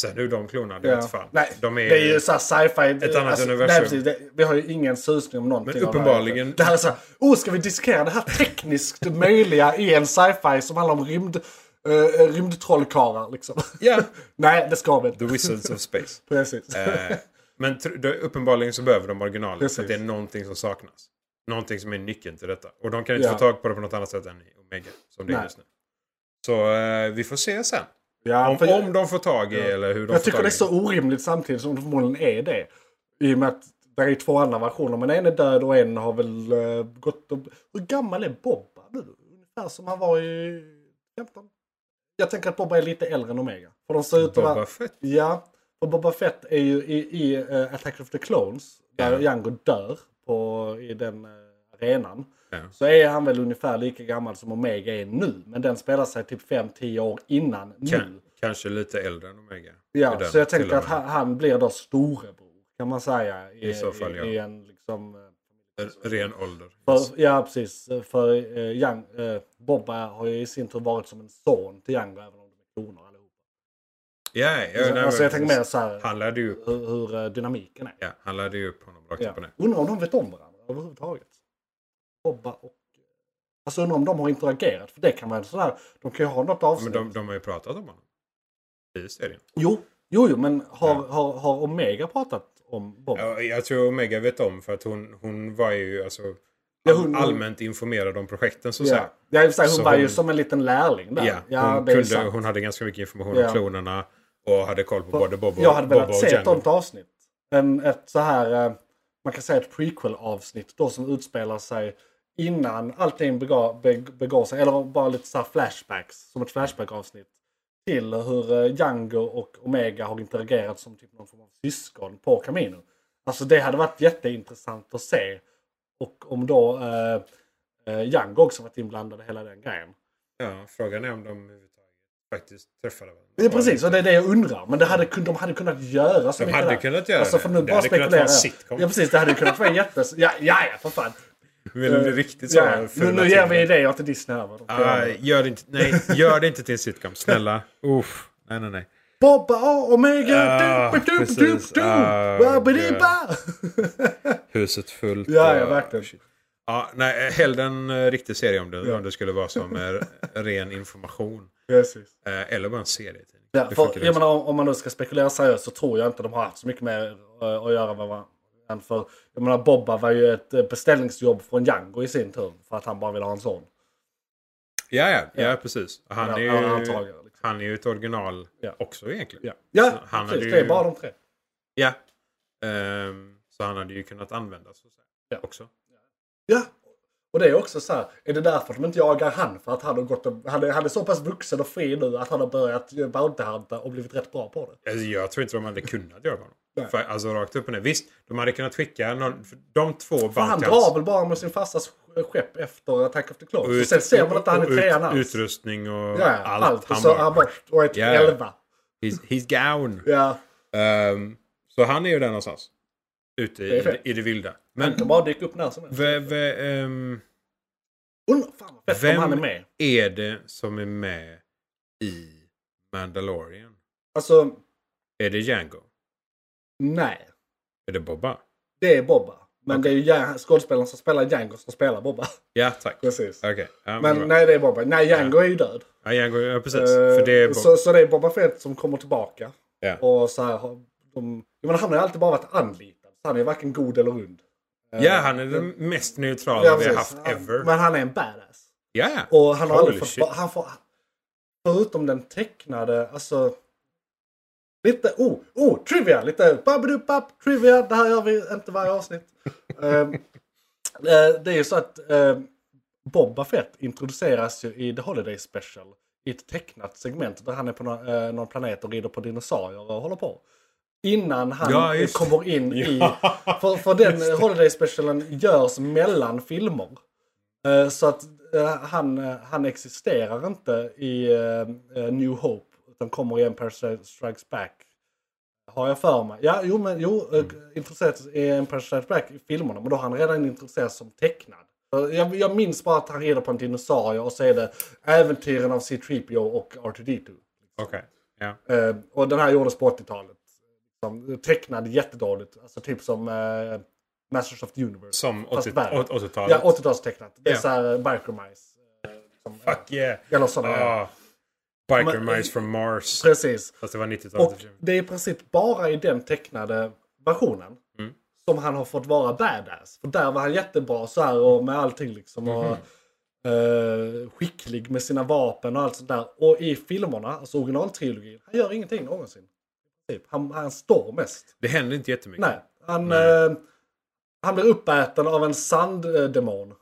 Sen hur de klonar, det
Ja.
vet fan.
Nej,
de är,
det är ju såhär sci-fi. alltså,
annat universum.
nej, precis, det, vi har ju ingen susning om någonting.
Men
av det här.
uppenbarligen-
Det här är såhär, oh ska vi diskutera det här tekniskt möjliga i en sci-fi som handlar om rymd, uh, rymdtrollkarlar liksom.
Ja.
nej, det ska vi
The
inte.
Wizards of Space.
Precis.
Eh, men tr- då, uppenbarligen så behöver de originalet. För att det
Precis.
är någonting som saknas. Någonting som är nyckeln till detta. Och de kan inte
Ja.
få tag på det på något annat sätt än i Omega. Som det är
Nej.
just nu. Så eh, vi får se sen.
Ja,
Om,
för jag-
om de får tag i eller hur de
jag
får
tycker
tag i
det är så orimligt samtidigt som det förmodligen är det. I och med att det är två andra versioner. Men en är död och en har väl eh, gått och... Hur gammal är Bobba nu? Ungefär som han var i 15? Jag tänker att Bobba är lite äldre än Omega. För de ser ut att
Boba
vara...
Fett.
Ja. Och Boba Fett är ju i, i eh, Attack of the Clones. Där
Ja.
Jango dör på, i den eh, arenan.
Ja.
Så är han väl ungefär lika gammal som Omega är nu. Men den spelar sig typ 5-10 år innan nu.
Kan, kanske lite äldre än Omega.
Mm. Ja,
I den,
så jag
till
tänker
och
att
med.
han, han blir då storebror kan man säga. I,
I så fall,
i,
ja.
i en liksom... eh,
Ren ålder. Yes.
För, ja, precis. För eh, Young, eh, Bobba har ju i sin tur varit som en son till Young även om de är kloner allihopa.
Ja, ja, nej,
alltså, jag
men-
tänker mer så här
Han lärde ju upp,
hur, hur eh, dynamiken är.
ja, han lärde ju upp honom rakt
Ja.
upp och ner.
Undrar om de vet om varandra överhuvudtaget. Bobba och... Alltså undrar om de har interagerat. För det kan man sådär... De kan ju ha något
Men
avsnitt.
de, de har ju pratat om honom. I serien.
Jo, jo, jo, men har,
Ja.
har, har Omega pratat om Bobba?
Ja, jag tror Omega vet om för att hon, hon var ju alltså,
Ja, hon-
allmänt informerad om projekten. Så att
Ja.
säga.
Ja, i och för sig, hon
Så
var ju
hon-
som en liten lärling där.
Ja, hon,
det är ju
kunde,
sant.
hon hade ganska mycket information
Ja.
om klonerna och hade koll på både Bob och
Jag hade
Bob
velat
och
se ett
Django.
sånt avsnitt. En, ett så här, eh, man kan säga ett prequel-avsnitt då som utspelar sig innan allting begav, beg, begav sig. Eller bara lite så här flashbacks, som ett flashback-avsnitt. Till hur eh, Django och Omega har interagerat som typ någon form av syskon på Camino. Alltså det hade varit jätteintressant att se. Och om då eh, eh, Django också varit inblandad i hela den grejen.
Ja, frågan är om de överhuvudtaget faktiskt träffade varandra.
Det är precis, och det är det jag undrar. Men det hade, kun- de hade kunnat göra så
De
mycket
hade
där.
kunnat göra
alltså,
det.
För nu
Det
bara
hade kunnat
spekulerar
vara en
jag.
sitcom.
Ja precis, det hade kunnat vara en jättes... Ja, ja, ja för fan.
Vill det bli riktigt så?
Eh, Ja, nu, nu ger vi
det.
idéer till Disney här. vad de kan göra.
Ah, gör, det inte, nej, gör det inte till en sitcom, snälla. Uff. Nej, nej, nej.
Bobba och Omega,
Ah,
dup, dup, dup,
precis.
dup,
Ah,
Rabba-dibba!
Huset fullt.
Ja, ja,
och-
verkligen.
Ja, nej, hellre en eh, riktig serie om det,
Ja.
om det skulle vara som eh, ren information.
Precis.
Eh, Eller bara en serietidning.
Ja,
Det
för,
funkar
jag
också.
menar, om, om man nu ska spekulera seriöst så tror jag inte de har haft så mycket mer eh, att göra med varandra. För, jag menar, Bobba var ju ett eh, beställningsjobb från Django i sin tur. För att han bara ville ha en son.
ja, ja, ja, precis. Han
Ja,
är, ju,
ja, antagligen, liksom.
han är ju ett original
Ja.
också egentligen.
Ja, ja
Så han
precis.
hade
Det är
ju-
bara de tre.
Ja. Ehm, så han hade ju kunnat användas så att säga,
Ja.
också.
Ja. Och det är också så här, är det därför de inte jagar han? För att han har gått och, han, är, han är så pass vuxen och fri nu att han har börjat ju bountyhunta och blivit rätt bra på det.
Alltså, jag tror inte de hade kunnat göra honom.
Nej.
För, alltså rakt upp och ner. Visst, de hade kunnat skicka någon, för de två
För han
band till hans-
drar väl bara med sin farsas skepp efter Attack of the
och
Clones.
ut-
Och sen ser man att han är
och ut-
trean alls.
Utrustning och
Ja, ja,
allt.
allt. Och
Han
så
bara,
han bara, och ett
Ja, ja.
elva.
he's, he's gown.
Ja.
Ehm, så han är ju där någonstans. Ute i,
Det är fel.
i det vilda. Men
Men de bara dyker upp när som helst.
v, v, ehm,
Undrar fan vad fett om
Vem-
han är med.
är det som är med i Mandalorian?
Alltså,
Är det Django?
nej.
Är det Boba?
Det är Bobba. Men det är ju Jan- skådespelaren som spelar Django som spelar Bobba.
Ja, tack.
Precis.
Okej. Ja, men,
Men
bra.
nej, det är Bobba. Nej, Django är ju död.
ja, Django, ja, precis.
Eh,
För det är Boba.
så, så det är Boba Fett som kommer tillbaka.
Ja.
Och så här, har- de, jag menar, han har ju alltid bara varit anlitad. Så han är varken god eller ond.
ja, han är den mest neutrala vi har
precis.
haft
Han-
ever.
Men han är en badass.
ja, ja.
Och han har
Holy
aldrig fått...
shit.
ba- Han får, förutom den tecknade, alltså... Lite, oh, oh, trivia! Lite babbidubbapp, trivia. Det här gör vi inte varje avsnitt. Ehm, eh, det är ju så att eh, Boba Fett introduceras ju i The Holiday Special. I ett tecknat segment där han är på någon, eh, någon planet och rider på dinosaurier och håller på. Innan han
Ja, just det.
kommer in i...
Ja,
För, för den Holiday Specialen görs mellan filmer. Eh, Så att eh, han, eh, han existerar inte i eh, eh, New Hope. Utan kommer i Empire Stri- Strikes Back. Har jag för mig. Ja, jo, men jo, mm. introduceras i Empire Strikes Back i filmerna, men då har han redan introducerats som tecknad. Jag, jag minns bara att han rider på en dinosaurie och så är det äventyren av C-3PO och R2D2.
Okej. Ja.
Eh, och den här gjordes på 80-talet. Som Tecknad jättedåligt. Alltså typ som eh, Masters of the Universe.
Som
Fast
80-
värre.
80-talet.
Ja, 80-talstecknat. Det är
Ja.
såhär eh, Biker Mice. eh, som-
Fuck yeah!
Eller sådana.
Ah, biker
Men-
Mice from Mars.
Precis.
Fast det var 90-talet.
Och det är i princip bara i den tecknade versionen
Mm.
som han har fått vara badass. För där var han jättebra så här och med allting liksom. Och,
Mhm.
eh, skicklig med sina vapen och allt sånt där. Och i filmerna, alltså originaltrilogin, han gör ingenting någonsin. Typ. Han, han står mest.
Det hände inte jättemycket.
Nej, han, Eh, han blir uppäten av en sanddemon.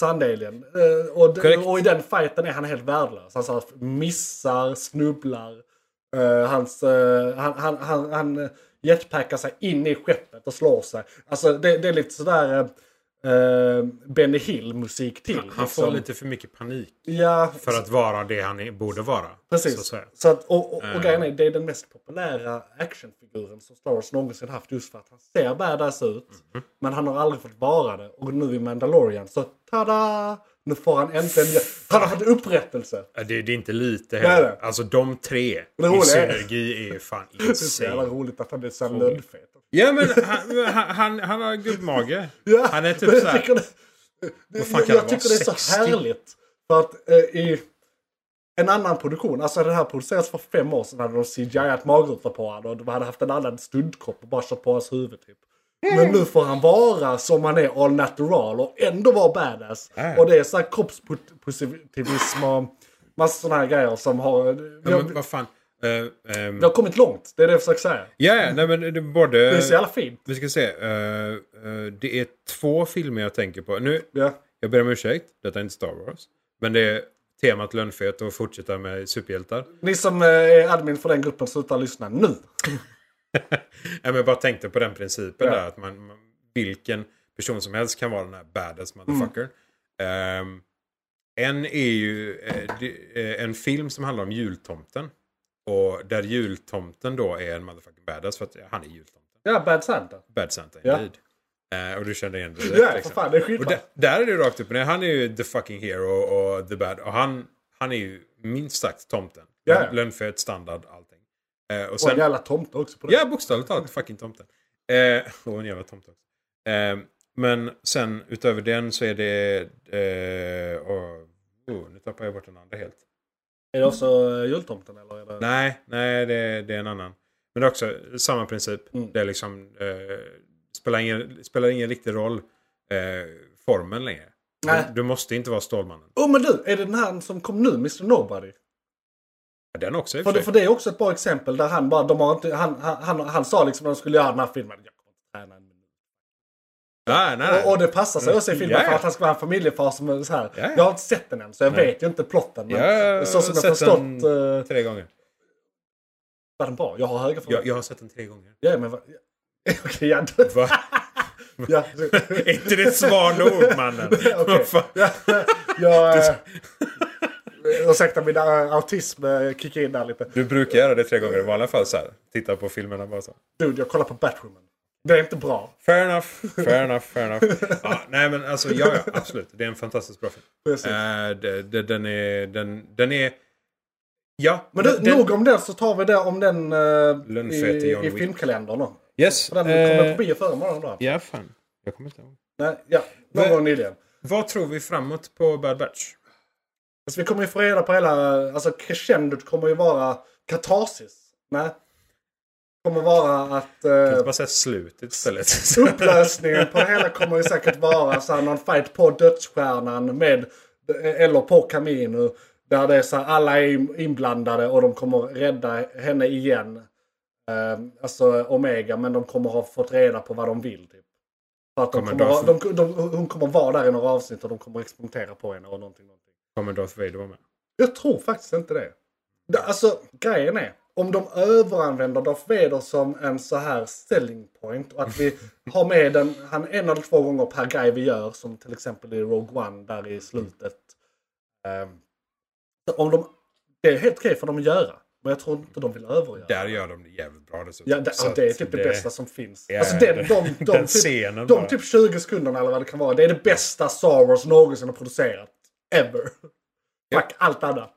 Sandalien. Eh, och, d-
Korrekt.
och i den fighten är han helt värdelös. Han så här, missar, snubblar. Eh, hans, eh, han, han, han, han eh, jetpackar sig in i skeppet och slår sig. Alltså det, det är lite sådär eh, eh, Benny Hill-musik till.
Han får
liksom.
lite för mycket panik
ja,
för att vara det han är, borde vara.
Precis.
Så att säga.
Så att, och och, och
Eh.
grejen är, det är den mest populära actionfiguren som Star Wars någonsin haft just för att han ser badass ut.
Mhm.
Men han har aldrig fått vara det. Och nu i Mandalorian så tada! Nu får han äntligen... Han har fått upprättelse!
Ja, Det, det är inte lite
Nej,
heller.
nej.
Alltså de tre
Det roliga
i
är-
synergi är ju fan
Det är så jävla
insane.
roligt att han är så här lönnfet.
Ja men han, han, han, han har gubbmage.
Ja,
han är typ
men jag
såhär.
tycker det, det,
fan
jag,
kan
jag
det vara?
tycker det är
60?
så härligt. För att eh, i en annan produktion, alltså den här producerades för fem år sedan, hade de CGI-at magrutor på honom och de hade haft en annan stuntkropp och bara kört på hans huvud typ. Men nu får han vara som han är all natural och ändå vara badass.
Ja.
Och det är så här kroppspositivism och massa sådana här grejer som har... Vi
Ja,
har,
men vad fan. Eh, ehm,
vi har kommit långt, det är det jag försöker säga.
ja, ja, nej men det är både...
Det är så jävla fint.
Vi ska se. eh, eh, det är två filmer jag tänker på. Nu,
Ja.
jag ber om ursäkt. Detta är inte Star Wars. Men det är temat lönnfet och fortsätta med superhjältar.
Ni som eh, är admin för den gruppen, sluta lyssna nu.
Nej, men jag bara tänkte på den principen
Ja.
där. Att man, man, vilken person som helst kan vara den här badass
Mm.
motherfucker. Ehm, en är ju eh, det- eh, en film som handlar om jultomten. Och där jultomten då är en motherfucking badass för att han är jultomten.
Ja, Bad Santa.
Bad Santa
Ja.
indeed. Eh, och du kände igen det direkt,
Ja, för
liksom.
fan, det är
Och
skitbra.
där, där är det rakt upp och ner. Han är ju the fucking hero och the bad. Och han, han är ju minst sagt tomten.
Ja, ja.
Lönnfet, standard, allting. Eh, och
Och
sen,
en jävla tomte också på det.
Ja, bokstavligt talat. Fucking tomten. Eh, och en jävla tomte också. Eh, men sen utöver den så är det... Eh, och, oh, nu tappar jag bort den andra helt.
Är det också eh, jultomten eller? Är det...
Nej, nej det, det är en annan. Men det är också samma princip.
Mm.
Det är liksom... Eh, spelar, ingen, spelar ingen riktig roll eh, formen längre.
Nej.
Du, du måste inte vara Stålmannen.
Oh men du, är det den här som kom nu, Mr Nobody?
Ja, Den också i och
För,
för
för
sig.
det är också ett bra exempel där han bara, de har inte, han, han, han, han sa liksom när de skulle göra den här filmen, jag kommer inte träna en minut.
Nej, nej, nej.
Och, och det passar sig också i filmen
Ja, ja.
för att han ska vara en familjefar som är så här.
Ja, ja.
Jag har inte sett den än så jag vet ju inte plotten. Men
Ja, jag har
så som jag
sett
förstått
den-
eh,
Tre gånger.
var den bra. Jag har höga
Jag,
förväntningar.
jag har sett den tre gånger.
Ja, men vad... Okej, ja. du-
Va?
ja,
Är inte det ett svar nog, mannen?
Okej.
Vad fan?
Ja, jag... eh, Ursäkta, min eh, autism eh, kickar in där lite.
Du brukar göra det tre gånger i vanliga fall. Så här. Titta på filmerna bara så.
Dude, jag kollar på Batwoman. Det är inte bra.
Fair enough, fair enough, fair enough. Ja, nej men alltså, ja, ja absolut. Det är en fantastiskt bra film.
Precis.
Eh, det, det, den är... Den, den är... Ja.
Men du,
den, den-
nog om den så tar vi det om den eh,
Lönnfete
i,
John
i
Wick.
filmkalendern. då.
Yes.
För Den
eh,
kommer på bio förra morgonen. då.
Ja, fan. Jag kommer inte ihåg.
Nej, ja, någon
Men-
gång nyligen.
Vad tror vi framåt på Bad Batch?
Alltså, vi kommer ju få reda på hela... Alltså crescendot kommer ju vara katarsis. Nej. Kommer vara att...
Jag
Eh,
vill bara säga slutet istället.
upplösningen på det hela kommer ju säkert vara så här, någon fight på dödsstjärnan med eller på Camino. Där det är så här, alla är inblandade och de kommer rädda henne igen. Eh, alltså Omega, men de kommer ha fått reda på vad de vill. Typ. För att de
Kommer
kommer, ha-
Darth-
de, de, hon kommer vara där i några avsnitt och de kommer experimentera på henne och någonting. någonting.
Kommer Darth Vader vara med?
Jag tror faktiskt inte det. Det- Alltså, grejen är. Om de överanvänder Darth Vader som en så här selling point och att vi har med den, han en eller två gånger per grej vi gör som till exempel i Rogue One där i slutet. Ehm, om de, det är helt okej för dem att göra. Men jag tror inte de vill övergöra.
Där gör de det jävligt bra dessutom.
Ja, det,
Så
ja, det är
att
typ det, bästa som finns.
Ja,
alltså den,
den-
de, de,
den
typ,
scenen
de
bara.
typ 20 sekunderna eller vad det kan vara. Det är det bästa Star Wars någonsin har producerat. Ever. Fuck allt annat.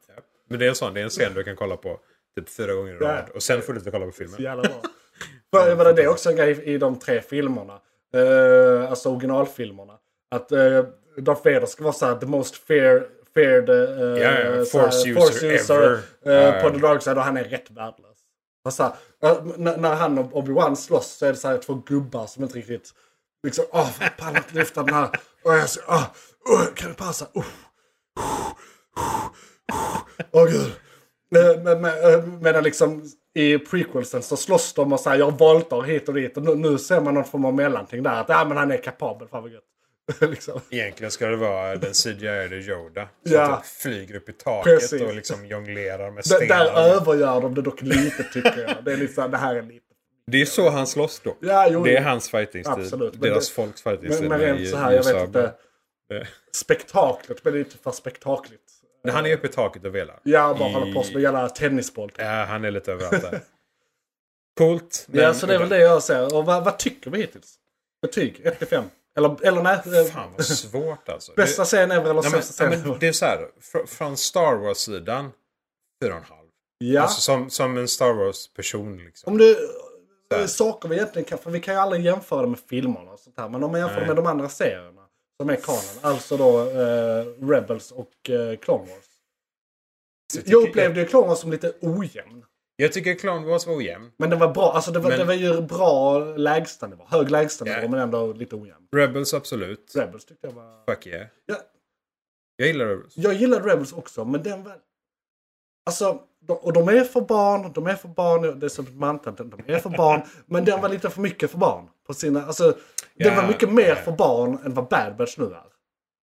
Men det är en sån, det är en scen du kan kolla på typ fyra gånger i
Ja.
rad. Och sen får du inte kolla på filmen.
Så jävla bra. För, jag menar, det är också en grej i de tre filmerna. Eh, alltså originalfilmerna. Att eh, Darth Vader ska vara såhär the most fear, feared eh,
Ja, ja,
såhär,
force user ever.
eh,
Ja,
på
ja.
the dark side och han är rätt värdelös. Han så här, eh, n- när han och Obi-Wan slåss så är det så här två gubbar som inte riktigt liksom åh, fan, jag pallar inte lyfta den här. Och jag så, åh, åh, kan du passa? Uh. Åh gud. Men, men, men, eh, medan liksom i prequelsen så slåss de och så här, jag voltar hit och dit. Och nu, nu ser man någon form av mellanting där. Att ja, men han är kapabel, fan vad gött. liksom.
Egentligen ska det vara den CGI-ade Yoda. Som
Ja.
typ flyger upp i taket
Precis.
och liksom jonglerar med
D- där
stenar.
övergör de det dock lite tycker jag. Det är liksom, det här är lite.
Det är så han slåss då.
Ja, jo,
det är
jo.
hans fightingstil.
Absolut, men
Deras
det-
folks fightingstil.
Men, men
i-
rent så här, jag
i
vet
USA.
inte.
Det-
Spektaklet, men det är inte för spektakligt.
När han är uppe i taket och velar.
Jag bara håller på som en jävla tennisboll.
Ja, han är lite överallt där. Coolt.
Ja, så det är väl det jag säger. Och vad, vad tycker vi hittills? Betyg 1 till 5. Eller, eller nej. eh,
Fan vad svårt alltså.
Bästa scen ever eller
det, nej,
sämsta
men,
scen
nej, men
ever?
Det är så här. fr- Från Star Wars-sidan, 4,5.
Ja.
Alltså som, som en Star Wars-person liksom.
Om du... eh, Saker vi egentligen kan... För vi kan ju aldrig jämföra det med filmerna och sånt här. Men om man jämför det med de andra serierna. Som är kanon. Alltså då eh, Rebels och eh, Clone Wars. Jag upplevde ju Clone Wars som lite ojämn.
Jag tycker Clone Wars var ojämn.
Men den var bra. Alltså det var,
Men-
det var ju bra lägstanivå. Hög lägstanivå
Ja.
men ändå lite ojämn.
Rebels absolut.
Rebels tyckte jag var...
Fuck yeah.
Ja,
Jag gillar Rebels.
Jag gillade Rebels också, men den var... Alltså, de, och de är för barn, de är för barn, det är som ett mantra, de de är för barn. men den var lite för mycket för barn. På sina, alltså, den
Ja,
var mycket mer
ja.
för barn än vad Bad Batch nu är.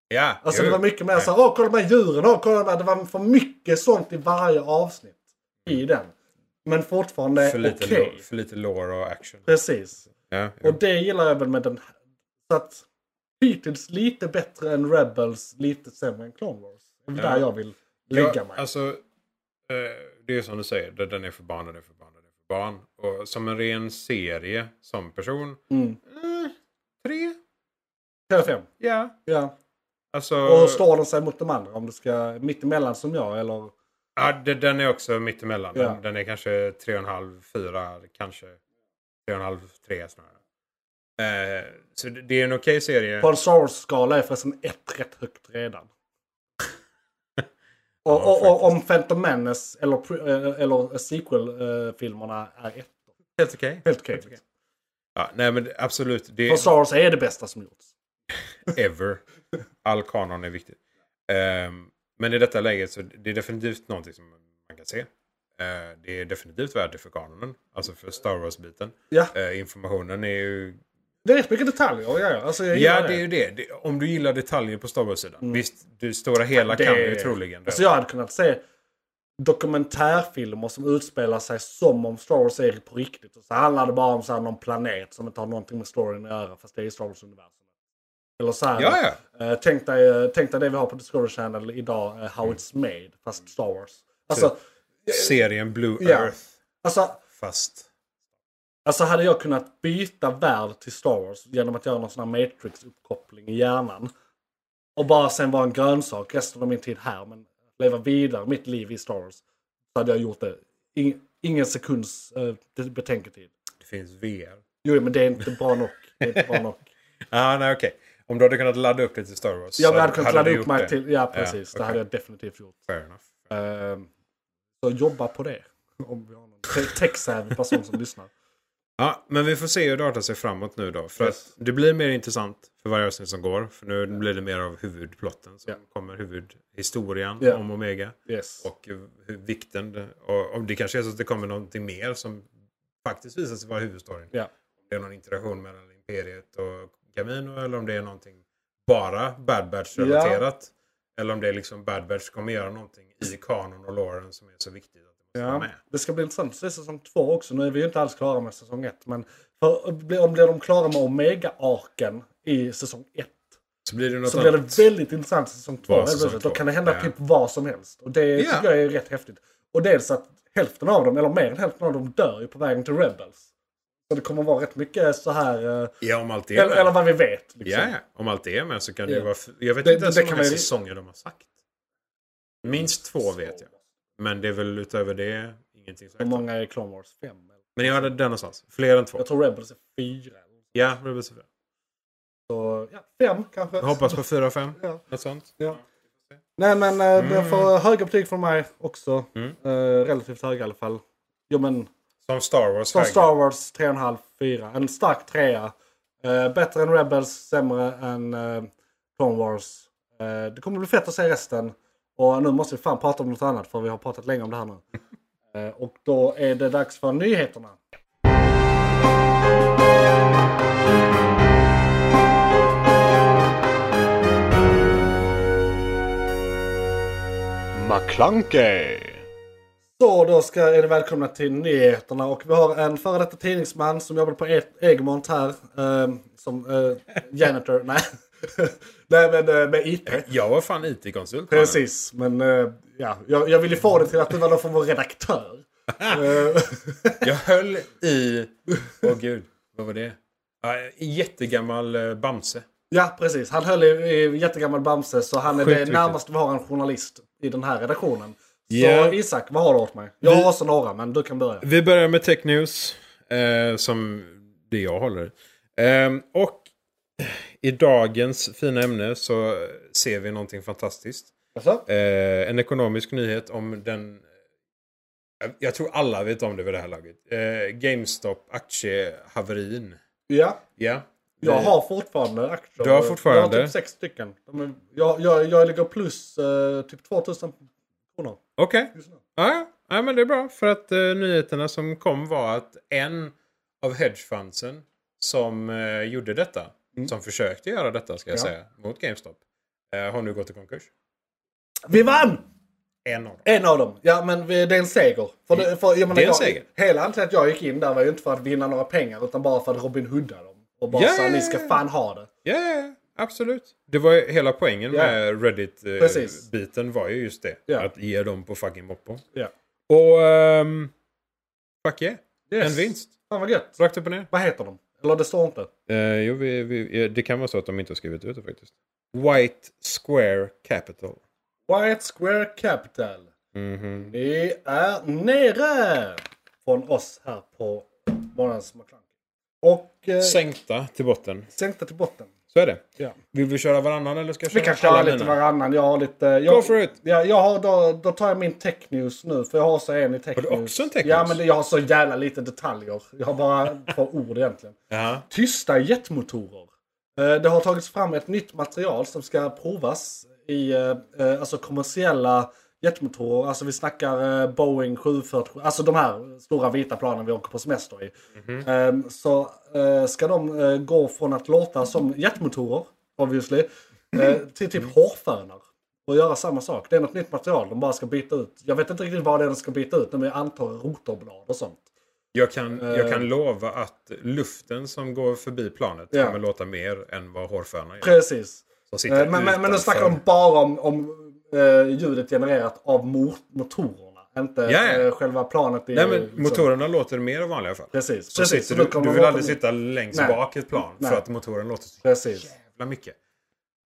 Ja,
Alltså
jo.
det var mycket mer såhär, åh kolla de här djuren, åh kolla de här. Det var för mycket sånt i varje avsnitt. I den. Men fortfarande
för,
okej.
lite lo- för lite lore och action.
Precis.
Ja, jo.
Och det gillar jag väl med den här. Så att hittills lite bättre än Rebels, lite sämre än Clone Wars. Det är väl
Ja.
där jag vill lägga
Ja,
mig.
Alltså, eh, det är som du säger, det- den är för barn, den är för barn, den är för barn. Och som en ren serie, som person.
Mm.
eh, tre?
Kanske fem.
Ja.
Ja.
Alltså,
Och hur står de sig mot de andra? Om du ska mittemellan som jag eller?
ja, det, den är också mittemellan.
Ja.
Den, den är kanske tre och en halv, fyra, kanske tre och en halv, tre snarare. Eh, så det, det är en okej serie.
På en Star Wars-skala är förresten ett rätt högt redan. och,
Ja,
och, och om Phantom Menace eller, pre- eh, eller sequel-filmerna är ett.
Helt okej.
Helt okej. Okay.
Ja, nej men absolut. Det,
För Star Wars är det bästa som gjorts.
ever. All kanon är viktig. Ehm, men i detta läget så det är definitivt någonting som man kan se. Eh, det är definitivt värde för kanonen. Alltså för Star Wars-biten.
Ja,
Eh, informationen är ju...
det är rätt mycket detaljer. Ja, ja. Alltså, jag gillar
Ja, det är ju det. det. Om du gillar detaljer på Star Wars-sidan. Visst, det stora hela
Mm. Det-
kan du ju troligen.
Alltså jag hade kunnat se dokumentärfilmer som utspelar sig som om Star Wars är på riktigt. Och så handlar det bara om så här någon planet som inte har någonting med storyn att göra fast det är i Star Wars-universum. Eller så här,
Ja,
eh, tänk, dig, eh, tänk dig det vi har på Discovery Channel idag, eh, How It's Made, fast Star Wars.
Typ.
Alltså,
Serien Blue
Ja.
Earth.
alltså,
Fast...
alltså hade jag kunnat byta värld till Star Wars genom att göra någon sån här Matrix-uppkoppling i hjärnan. Och bara sen vara en grönsak resten av min tid här. Men leva vidare mitt liv i Star Wars. Så hade jag gjort det. Ing, ingen sekunds eh, det- betänketid.
Det finns VR.
Jo, men det är inte bra nog. Det är inte bra nog.
Ah, nej, okej. Om du hade kunnat ladda upp det till Star Wars.
Jag
så
hade kunnat ladda
du
upp
gjort
mig
det.
till... Ja, precis. Det
okej.
hade jag definitivt gjort.
Fair enough.
Eh, så jobba på det. Om vi har någon te- tech-savvy person som lyssnar.
Ja, men vi får se hur det artar sig framåt nu då. För
Yes.
att det blir mer intressant för varje avsnitt som går. För nu blir det mer av huvudplotten som
Ja.
kommer. Huvudhistorien
Ja.
om Omega.
Yes.
Och hur vikten. det- Och om det kanske är så att det kommer någonting mer som faktiskt visar sig vara huvudstoryn.
Ja.
Om det är någon interaktion mellan Imperiet och Camino. Eller om det är någonting bara Bad Batch
Ja.
relaterat. Eller om det är liksom Bad Batch kommer göra någonting i kanon och loren som är så viktigt att det måste vara
Ja,
med.
det ska bli intressant att se säsong två också. Nu är vi ju inte alls klara med säsong ett. Men för, om blir de klara med Omega-arken i säsong ett.
Så blir det något
Så blir
annat.
det väldigt intressant i säsong två.
Vad
helt
säsong
plötsligt. Då
två?
kan det hända
Ja.
typ vad som helst. Och det
Ja.
tycker jag är rätt häftigt. Och dels att hälften av dem, eller mer än hälften av dem, dör ju på vägen till Rebels. Så det kommer vara rätt mycket så här... eh,
Ja, om allt det är
Eller, eller
med.
vad vi vet.
Ja,
Liksom.
ja. om allt det är med så kan det
Ja.
ju vara... f- Jag vet
Det-
inte ens
det
hur
kan
många
man ju-
säsonger de har sagt. Minst två vet jag. Men det är väl utöver det ingenting
Hur
sagt.
många är Clone Wars? Fem? Eller?
Men jag hade den någonstans. Fler än två.
Jag tror Rebels är fyra.
Ja, det blir så bra.
Så, ja, fem kanske.
Jag Hoppas på fyra och fem.
Ja.
Något sånt.
Ja. Nej men eh, det får höga betyg från mig också.
Mm.
Eh, relativt höga i alla fall. Jo men,
Som Star Wars.
som
Tiger.
Star Wars 3,5, 4. En stark trea. Eh, bättre än Rebels, sämre än eh, Clone Wars. Eh, det kommer bli fett att se resten. Och nu måste vi fan prata om något annat för vi har pratat länge om det här nu. Eh, och då är det dags för nyheterna.
McClunkey.
Så då ska är ni välkomna till nyheterna och vi har en före detta tidningsman som jobbade på E- Egmont här ehm, som eh, janitor. Nej. Nej men eh, med IP.
Jag var fan IT-konsult.
Precis, men eh, ja, jag, jag ville få det till att du var någon form av redaktör. Eh,
Jag höll i... Åh gud, vad var det? Ja, en jättegammal eh, Bamse.
ja precis, han höll i, i jättegammal Bamse så han är
Sjukt
det
viktigt.
närmaste vi har en journalist i den här redaktionen.
Ja.
Så Isak, vad har du åt mig? Jag har också några men du kan börja.
Vi börjar med Tech News. Eh, som det jag håller. Eh, och i dagens fina ämne så ser vi någonting fantastiskt.
Alltså?
Eh, en ekonomisk nyhet om den... Jag- Jag tror alla vet om det vid det här laget. Eh, GameStop aktiehaverin.
Ja.
Ja.
Jag
Vi-
har fortfarande aktier.
Du har fortfarande?
Jag har typ sex stycken. De är, jag, jag, jag ligger plus eh, typ 2000 kronor.
Okej.
just nu.
Ja, ja, men det är bra. För att eh, nyheterna som kom var att en av hedgefundsen som eh, gjorde detta, som försökte göra detta ska jag
Ja.
säga, mot GameStop, eh, har nu gått i konkurs.
Vi vann!
En av dem.
En av dem. Ja men vi- det är en seger. För det, för, jag menar,
Det är en
jag,
seger.
Hela anledningen till att jag gick in där var ju inte för att vinna några pengar utan bara för att Robin Hooda dem. Och bara
Ja,
sa
ja, ja,
ni ska
ja.
fan ha det.
Ja, ja, ja, absolut. Det var ju hela poängen
Ja.
med
Precis.
Reddit-biten var ju just det.
Ja.
Att ge dem på fucking moppen.
Ja.
Och... ehm, fuck yeah.
Yes.
En vinst.
Fan vad gött.
Rakt upp och ner.
Vad heter de? Eller det står inte.
Eh, jo, vi, vi, eh, det kan vara så att de inte har skrivit ut det faktiskt. White Square Capital.
White Square Capital.
Mhm.
Ni är nere! Från oss här på Morgonens McClunky. Och eh,
Sänkta till botten.
sänkta till botten.
Så är det.
Ja.
Vill vi köra varannan eller ska jag
Vi
köra
kan köra
alla
lite
mina?
varannan. Jag har lite... Jag,
Go for it.
Ja, jag har, då, då tar jag min tech news nu, för jag har så en i tech
Har du
news.
också en tech
Ja,
news?
men det- jag har så jävla lite detaljer. Jag har bara två ord egentligen.
Ja.
Tysta jetmotorer. Eh, Det har tagits fram ett nytt material som ska provas i eh, eh, alltså kommersiella jetmotorer. Alltså vi snackar eh, Boeing 747, alltså de här stora vita planen vi åker på semester i. Eh, Så eh, ska de eh, gå från att låta som jetmotorer, obviously, eh, till typ hårfönar. Och göra samma sak. Det är något nytt material de bara ska byta ut. Jag vet inte riktigt vad det är de ska byta ut, men jag antar rotorblad och sånt.
Jag kan, jag kan lova att luften som går förbi planet
Eh. Ja.
kommer låta mer än vad hårfönar gör.
Precis.
Som sitter
Eh, Men, men, men de
utanför.
snackar de bara om, om eh, ljudet genererat av mot motorerna. Inte
Ja, ja.
eh, själva planet. I,
Nej, men
liksom-
motorerna låter mer i vanliga fall.
Precis.
Så
precis.
sitter
då
du,
kommer
du
de
vill
åka
aldrig
med-
sitta längst
Nej.
bak i ett plan
Nej.
för att motoren låter så
Precis.
jävla mycket.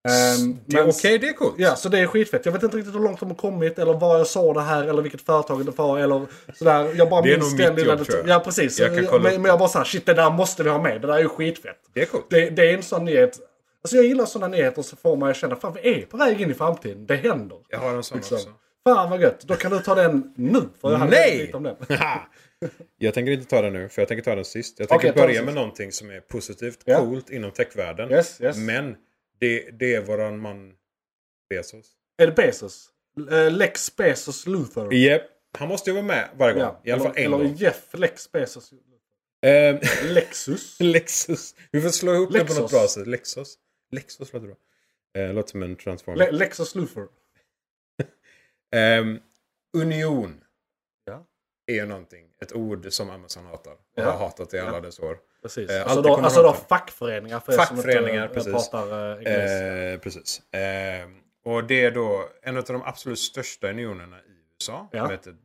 Ehm,
Det är
men-
okej, det är coolt.
Ja, så det är skitfett. Jag vet inte riktigt hur långt de har kommit eller var jag såg det här eller vilket företag det var eller sådär. Jag bara
Det är
minns
nog
den
mitt
lilla
jobb, tror jag.
Ja, precis.
Jag kan kolla
men,
upp
men jag bara såhär, shit det där måste vi ha med. Det där är ju skitfett.
Det är coolt.
Det, det är en sån nyhet. Alltså jag gillar sådana nyheter så får man ju känna, fan vi är på väg in i framtiden. Det händer.
Jag har en sån också.
Fan vad gött. Då kan du ta den nu. För jag hade
Nej!
väldigt lite om den.
Jag tänker inte ta den nu, för jag tänker ta den sist. Jag tänker
Okej, ta den
börja
sist.
med någonting som är positivt,
Ja.
coolt inom techvärlden.
Yes, yes.
Men det, det är våran man Bezos.
Är det Bezos? Eh, Lex Bezos Luthor.
Japp. Han måste ju vara med varje gång.
Ja,
I alla fall en
eller, eller
gång.
Jeff Lex Bezos.
Ehm,
Lexus.
Lexus. Vi får slå ihop det på något
Lexus.
bra sätt. Lexus. Lexus låter bra. Eh, låter som en transformer.
Le Lexus Luthor.
Ehm, union.
Ja.
Är ju någonting. Ett ord som Amazon hatar. Och
Ja.
har hatat i alla dess år.
Precis.
Eh,
alltså
alltid
då,
kommer
alltså
de
då
prata.
fackföreningar för er
Fackföreningar,
som inte eh,
precis.
pratar eh, engelska.
Eh, precis. Eh, Ehm, och det är då en av de absolut största unionerna i USA.
Ja. Mm.
Som heter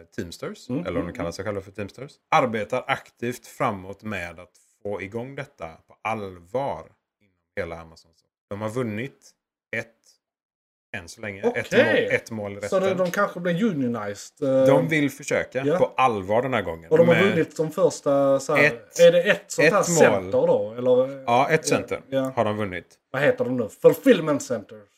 eh, Teamsters, eller om de kallar sig själva för Teamsters, arbetar aktivt framåt med att få igång detta på allvar inom hela Amazon. De har vunnit ett, än så länge, ett, mål,
Okej.
ett mål i
Så de,
rätten.
de kanske blir unionized. eh,
De vill försöka
Ja.
på allvar den här gången.
och de har
med-
vunnit de första... Så här,
Ett-
är det ett sånt
ett
här
mål.
center då? Eller,
Ja, ett center
Ja.
har de vunnit.
Vad heter de nu? Fulfillment centers.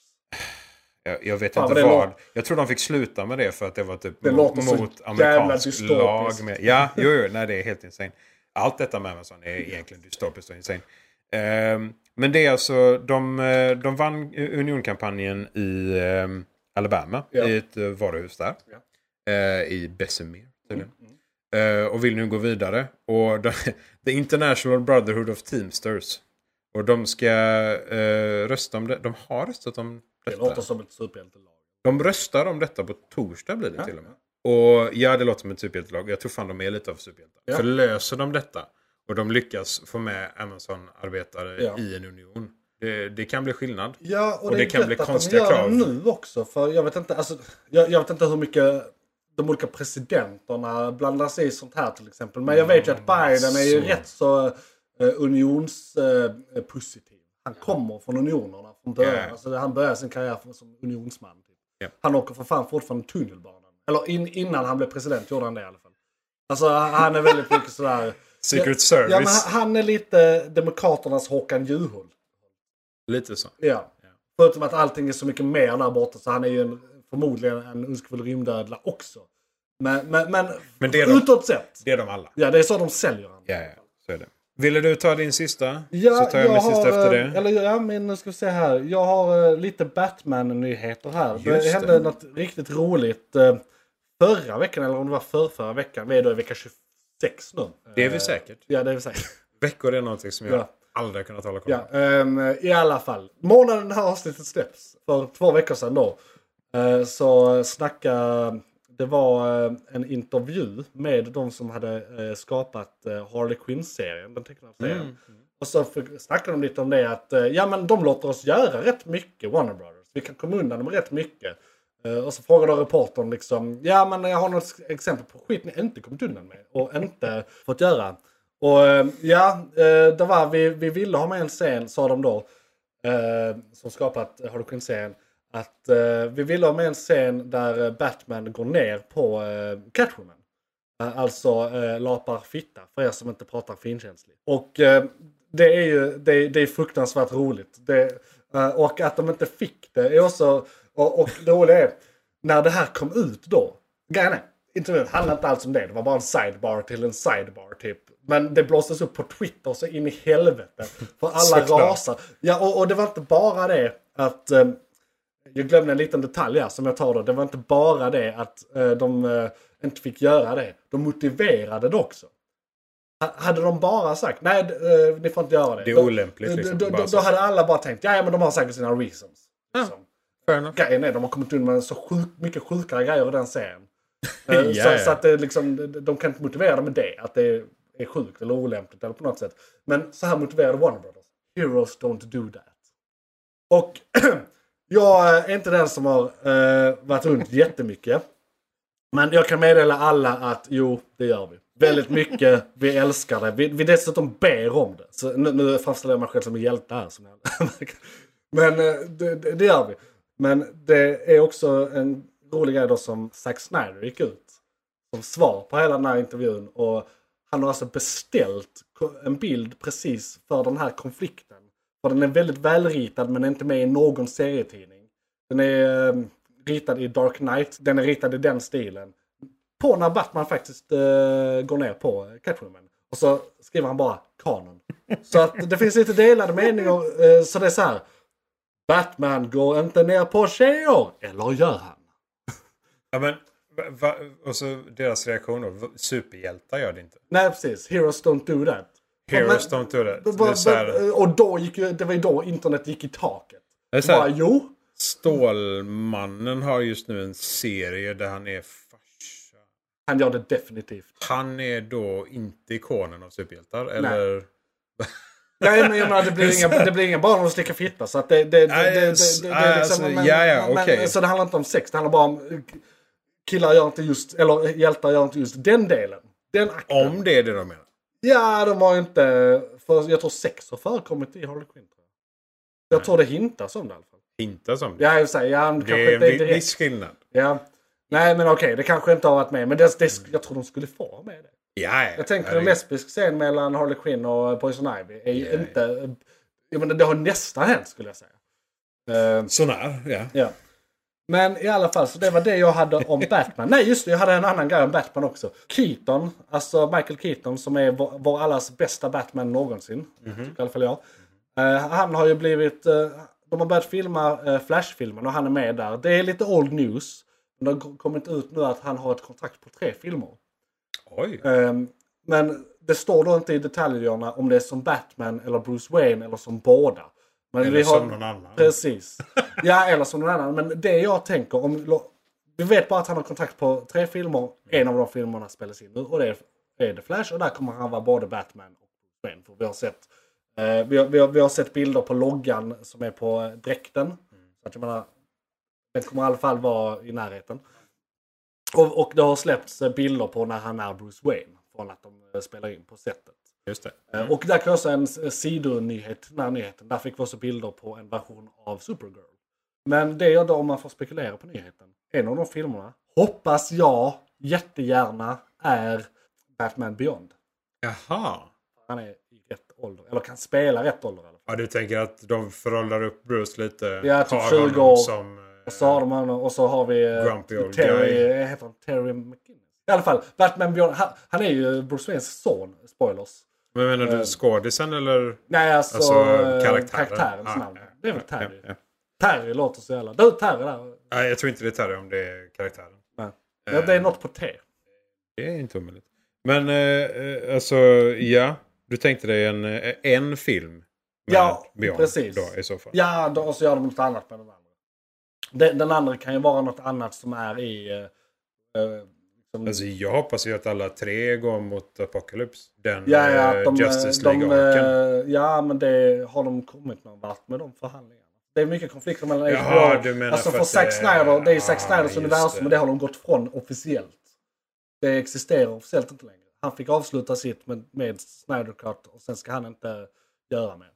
Jag, jag vet
Fan,
inte
vad det
vad.
låter-
Jag tror de fick sluta med det för att det var typ
Det
mot,
låter så
mot
jävla
amerikansk
dystopiskt.
lag. Med, ja, jo, jo, nej, det är helt insane. Allt detta med Amazon är egentligen dystopiskt och insane. Ehm, men det är alltså, de, eh, de vann Unionkampanjen i ehm, Alabama,
Ja.
i ett eh, varuhus där.
Ja. Mm,
Eh, I Bessemer, tydligen. Eh, och vill nu gå vidare. Och de, The International Brotherhood of Teamsters. Och de ska eh, rösta om det. De har röstat om
Det
detta.
låter som ett superhjältelag.
De röstar om detta på torsdag blir det
Ja,
till och med. Och ja, det låter som ett superhjältelag. Jag tror fan de är lite av superhjältar.
Ja.
För löser de detta och de lyckas få med Amazon-arbetare
Ja.
i en union. Det, det kan bli skillnad.
Ja, och,
Och
det,
det
är
kan
gött
bli
att de
konstiga
gör
krav.
det nu också. För jag vet, inte, alltså, jag, jag vet inte hur mycket de olika presidenterna blandar sig i sånt här till exempel. Men jag vet ju att Biden är ju
Mm, så.
rätt så eh, unionspositiv. han kommer från unionerna från början.
Ja.
Alltså, han börjar sin karriär från- som unionsman. Typ.
Ja.
Han åker för fan fortfarande tunnelbanan. Eller in, innan han blev president gjorde han det i alla fall. Alltså han är väldigt mycket sådär...
Secret
ja,
Service.
Ja, men han- han är lite Demokraternas Håkan Juholt.
Lite så.
Ja. Förutom att allting är så mycket mer där borta så han är ju en, förmodligen en ondskefull rymdödla också. Men, men, men,
Men det är de-
utåt sett.
Det är de alla.
Ja, det är så de säljer han.
Ja, ja. Så är det. Ville du ta din sista? så
Ja,
tar jag, min sista efter
eh,
det.
Eller, ja, men nu ska vi se här. Jag har eh, lite Batman-nyheter här. Det,
Just det.
hände något riktigt roligt eh, förra veckan, eller om det var förrförra veckan. Vi är då i vecka 26 nu.
Det är vi
Eh,
säkert.
Ja, det är vi säkert.
Veckor är någonting som jag
Ja.
aldrig har kunnat hålla koll på.
Ja, ehm, I alla fall. Månaden det här avsnittet släpps för två veckor sedan då. eh, så snacka, det var eh, en intervju med de som hade eh, skapat eh, Harley Quinn-serien, den tecknade serien. Och så fick- snackade de lite om det att eh, ja men de låter oss göra rätt mycket, Warner Brothers. Vi kan komma undan dem rätt mycket. Eh, Och så frågade reportern liksom, ja men jag har något exempel på skit ni inte kommit undan med och inte fått göra. Och eh, ja, eh, det var, vi, vi ville ha med en scen sa de då, eh, som skapat eh, Harley Quinn-serien. Att eh, vi ville ha med en scen där eh, Batman går ner på eh, Catwoman. Eh, Alltså eh, lapar fitta, för er som inte pratar finkänsligt. Och eh, det är ju det, är- det är fruktansvärt roligt. Det, eh, och att de inte fick det är också... Och, och det roliga är, när det här kom ut då. Grejen är, intervjun handlade inte alls om det. Det var bara en sidebar till en sidebar typ. Men det blåstes upp på Twitter så in i helvete. För alla
Såklart.
rasar. Ja, och, och det var inte bara det att... eh, jag glömde en liten detalj här som jag tar då. Det var inte bara det att eh, de eh, inte fick göra det. De motiverade det också. Ha- Hade de bara sagt nej, d- eh, ni får inte göra det.
Det är
Då-
olämpligt, liksom,
Då,
bara
då,
så.
då hade alla bara tänkt, ja ja, men de har säkert sina reasons. Liksom.
Fair enough.
Grejen är, de har kommit undan med så sjuk, mycket sjukare grejer i den serien. Eh,
Ja, ja.
så, så att det är liksom, de- de kan inte motivera det med det, att det är sjukt eller olämpligt eller på något sätt. Men så här motiverade Warner Brothers. Heroes don't do that. Och jag är inte den som har eh, varit runt jättemycket. Men jag kan meddela alla att jo, det gör vi. Väldigt mycket. Vi älskar det. Vi, vi dessutom ber om det. Så nu, nu framställer jag mig själv som en hjälte här. Som jag, men eh, det, det, det gör vi. Men det är också en rolig grej då som Zack Snyder gick ut som svar på hela den här intervjun. Och han har alltså beställt ko- en bild precis för den här konflikten. För den är väldigt välritad men är inte med i någon serietidning. Den är eh, ritad i Dark Knight. Den är ritad i den stilen. På när Batman faktiskt eh, går ner på Catwoman. Och så skriver han bara kanon. Så att det finns lite delade meningar. Eh, så det är så här. Batman går inte ner på tjejer. Eller gör han?
Ja, men, va, va, och så deras reaktion då. Va- Superhjältar gör det inte.
Nej precis. Heroes don't do that.
Heroes
Men-
don't do that. Det
Bara-
är så här,
bara- Och då gick ju, det var ju då internet gick i taket.
det är så
Bara,
här,
jo,
Stålmannen har just nu en serie där han är farsa.
han gör det definitivt.
Han är då inte ikonen av superhjältar? Eller?
Nej men jag menar det blir inga, det blir inga barn att slicka fitta. Så att det, det, det, det, det,
Nej,
det, det, är liksom-
alltså, ja, ja,
men-
okej.
Så det handlar inte om sex, det handlar bara om killar gör inte just, eller hjältar gör inte just den delen. Den akten.
Om det är det de menar.
Ja, de har inte... För jag tror sex har förekommit i Harley Quinn. Tror jag. jag tror det hintas om det i alla fall.
Inte som det.
Ja, i och för sig. Ja, men kanske
det är
inte
en
direkt.
vi- viss skillnad.
Ja. Nej, men okej. Det kanske inte har varit med. Men det, det, jag tror de skulle få med det.
Ja, ja.
Jag tänker en
Herregud.
lesbisk scen mellan Harley Quinn och Poison Ivy är ju
Ja, ja.
inte... Jag menar, det har nästan hänt skulle jag säga. Eh,
Ehm, Sånär, ja.
ja. Men i alla fall, så det var det jag hade om Batman. Nej just det, jag hade en annan grej om Batman också. Keaton, alltså Michael Keaton som är vår, vår allas bästa Batman någonsin.
Mhm.
Tycker i alla fall jag. Eh, han har ju blivit... eh, de har börjat filma eh, Flash-filmen och han är med där. Det är lite old news. Men det har kommit ut nu att han har ett kontrakt på tre filmer.
Oj.
Ehm, men det står då inte i detaljerna om det är som Batman eller Bruce Wayne eller som båda. Men
Eller
vi har...
som någon annan.
Precis. Ja, eller som någon annan. Men det jag tänker om... Vi vet bara att han har kontakt på tre filmer. En av de filmerna spelas in nu och det är, är The Flash. Och där kommer han vara både Batman och Bruce Wayne. För vi har sett, eh, vi har, vi har, vi har sett bilder på loggan som är på eh, dräkten. Så att jag menar, den kommer i alla fall vara i närheten. Och, och det har släppts eh, bilder på när han är Bruce Wayne. Från att de eh, spelar in på sättet.
Just det.
Eh, Och där kan jag också en s- eh, sidonyhet, till den här nyheten. Där fick vi också bilder på en version av Supergirl. Men det jag då, om man får spekulera på nyheten. En av de filmerna, hoppas jag jättegärna, är Batman Beyond.
Jaha.
Han är i rätt ålder, eller kan spela rätt ålder i alla fall.
Ja, du tänker att de föråldrar upp Bruce lite?
Ja, typ
Tar
20
honom
år.
Som, eh,
Och så har de honom, och så har vi eh,
Grumpy old
Terry, eh,
guy.
heter han Terry McKinnon? I alla fall, Batman Beyond, han, han är ju Bruce Waynes son, spoilers.
men menar du skådisen eller?
Nej, alltså,
Alltså,
eh,
karaktären.
karaktärens
Ah,
namn.
ja,
Det är väl
Ja,
Terry.
ja.
Terry låter så jävla... Du, Terry där.
Nej, jag tror inte det är Terry om det är karaktären.
Nej. Ja,
Eh.
det är något på T.
Det är inte omöjligt. Men eh, eh, alltså, ja. Du tänkte dig en, eh, en film? med
Ja,
Beyond
precis.
Då, i så fall.
Ja, då, och så gör de något annat med den andra. Den, den andra kan ju vara något annat som är i... eh, eh, som,
Alltså, jag hoppas ju att alla tre går mot Apocalypse. Den
ja, ja,
eh,
att de,
Justice
de,
League-arken.
eh, Ja, men det har de kommit någon vart med de förhandlingarna. Det är mycket konflikter mellan
Jaha,
HBO.
du menar
alltså
för
för
att
Zack
det-
Snyder, det är ju
Ah,
Zack Snyders
just
universum
det.
och det har de gått från officiellt. Det existerar officiellt inte längre. Han fick avsluta sitt med, med Snyder Cut och sen ska han inte göra mer.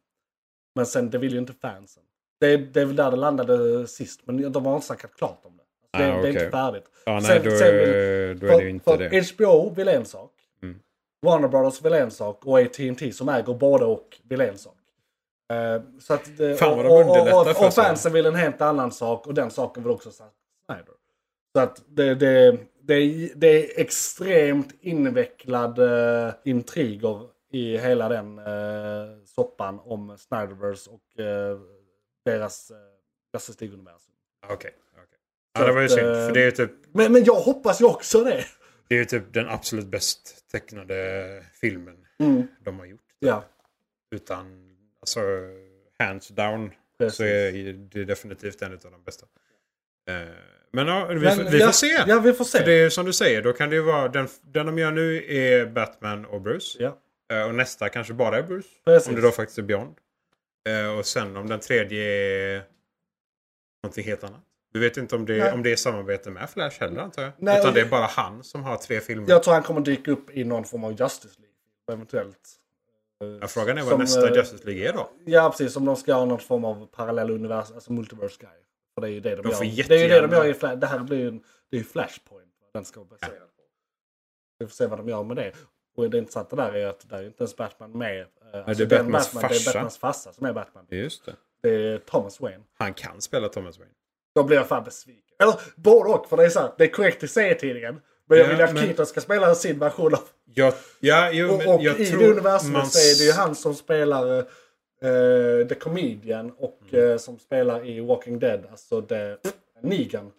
Men sen, det vill ju inte fansen. Det, det är väl där det landade sist, men de har inte snackat klart om det. Alltså, det,
Ah,
det är
okej.
inte färdigt.
Ja, nej,
sen-
då,
sen vill-
då är det ju inte
för,
det.
För HBO vill en sak.
Mm.
Warner Brothers vill en sak och AT&T som äger både och vill en sak. Eh, så att det,
Fan, vad de
och, och, och,
underlättar
och,
för sig.
fansen vill en helt annan sak och den saken vill också Zack Snyder. Så att det, det, det, är- det är extremt invecklade eh, intriger i hela den eh, soppan om Snyderverse och eh, deras eh, Justice League-universum.
Ah, Okej. okej. Ja, det var ju
Så att,
synd.
eh,
För det är ju typ
Men, men jag hoppas ju också det.
Det är ju typ den absolut bäst tecknade filmen
Mm.
de har gjort.
Ja.
Utan, alltså, hands down
Precis.
så är ju det definitivt en av de bästa. Eh, Men ja, vi,
Men
får- vi
ja,
får se.
Ja, vi får se.
För det är ju som du säger, då kan det ju vara, den, den de gör nu är Batman och Bruce.
Ja.
Eh, Och nästa kanske bara är Bruce.
Precis.
Om det då faktiskt är Beyond. Eh, Och sen om den tredje är någonting helt annat. Vi vet inte om det,
Nej.
om det är samarbete med Flash heller antar jag.
Nej,
Utan
och
det
det-
är bara han som har tre filmer.
Jag tror han kommer dyka upp i någon form av Justice League. Eventuellt.
Ja, frågan är vad
Som,
nästa
eh,
Justice League är då.
Ja, precis. Om de ska ha någon form av parallell universum, alltså multiverse guy. För det är ju det de,
De får
gör. Det är ju det de
jättegärna-
gör i Flash. Det här blir ju en, det är ju Flashpoint. vad Den ska vara baserad på. Vi får se vad de gör med det. Och det intressanta där är att där är ju inte ens Batman med. Eh, alltså, den
Batmans
Det
farsa.
är Batmans farsa som är Batman.
Just det.
Det är Thomas Wayne.
Han kan spela Thomas Wayne.
Då blir jag fan besviken. Eller både och, för det är så här, det är korrekt i serietidningen. Men jag
Ja,
vill att
men-
Keaton ska spela sin version av
Jag, ja, jo, men
Och, och
jag
i
tror
det universumet
man
så är det ju han som spelar eh, The Comedian och
Mm.
eh, som spelar i Walking Dead, alltså The Negan.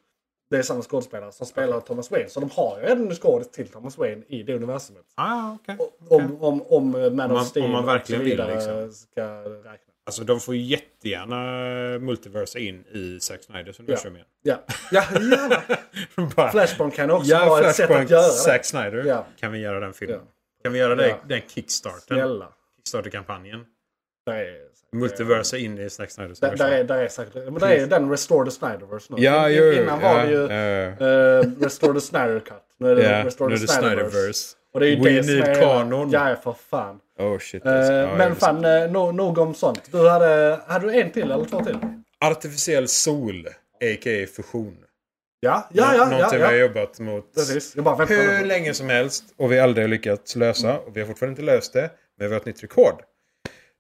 Det är samma skådespelare som spelar Thomas Wayne. Så de har ju redan en skådis till Thomas Wayne i det universumet.
Ah, okej.
Om, om, om eh, Man
man-
of Steel
om man
och
verkligen
så
vill,
vidare
liksom.
ska räkna.
Alltså de får ju jättegärna eh, multiversa in i Zack Snyders universum igen.
Ja, ja gärna.
Bara,
Flashpoint kan också
ja,
vara ett sätt
Flashpoint,
att göra
Zack
det.
Snyder.
Ja.
Kan vi göra den filmen?
Ja.
Kan vi göra den,
Ja.
den kickstarten?
Snälla.
Kickstarter-kampanjen?
där är...
Mm. Multiversa in i Snack Snyders
Där, där, är, där är säkert... Men där är ju den Restore the Snyderverse nu.
Ja,
In-
ju,
Innan
ja,
var det ju
ja.
eh, Restore the Snyder Cut. Nu är det
Ja,
Restore
nu är
the
det
Snyderverse.
Snyderverse.
Och det är ju
We
det som
need
är hela-
kanon.
Ja, för fan.
Oh shit.
Eh,
alltså. Ja,
men
just-
fan, eh, no, nog om sånt. Du hade, hade du en till eller två till?
Artificiell sol, a.k.a. fusion.
Ja, ja, ja. ja,
Någonting vi har
ja.
jobbat mot
Precis. Jag bara väntar
hur
nu.
länge som helst och vi har aldrig lyckats lösa. Och vi har fortfarande inte löst det, men vi har ett nytt rekord.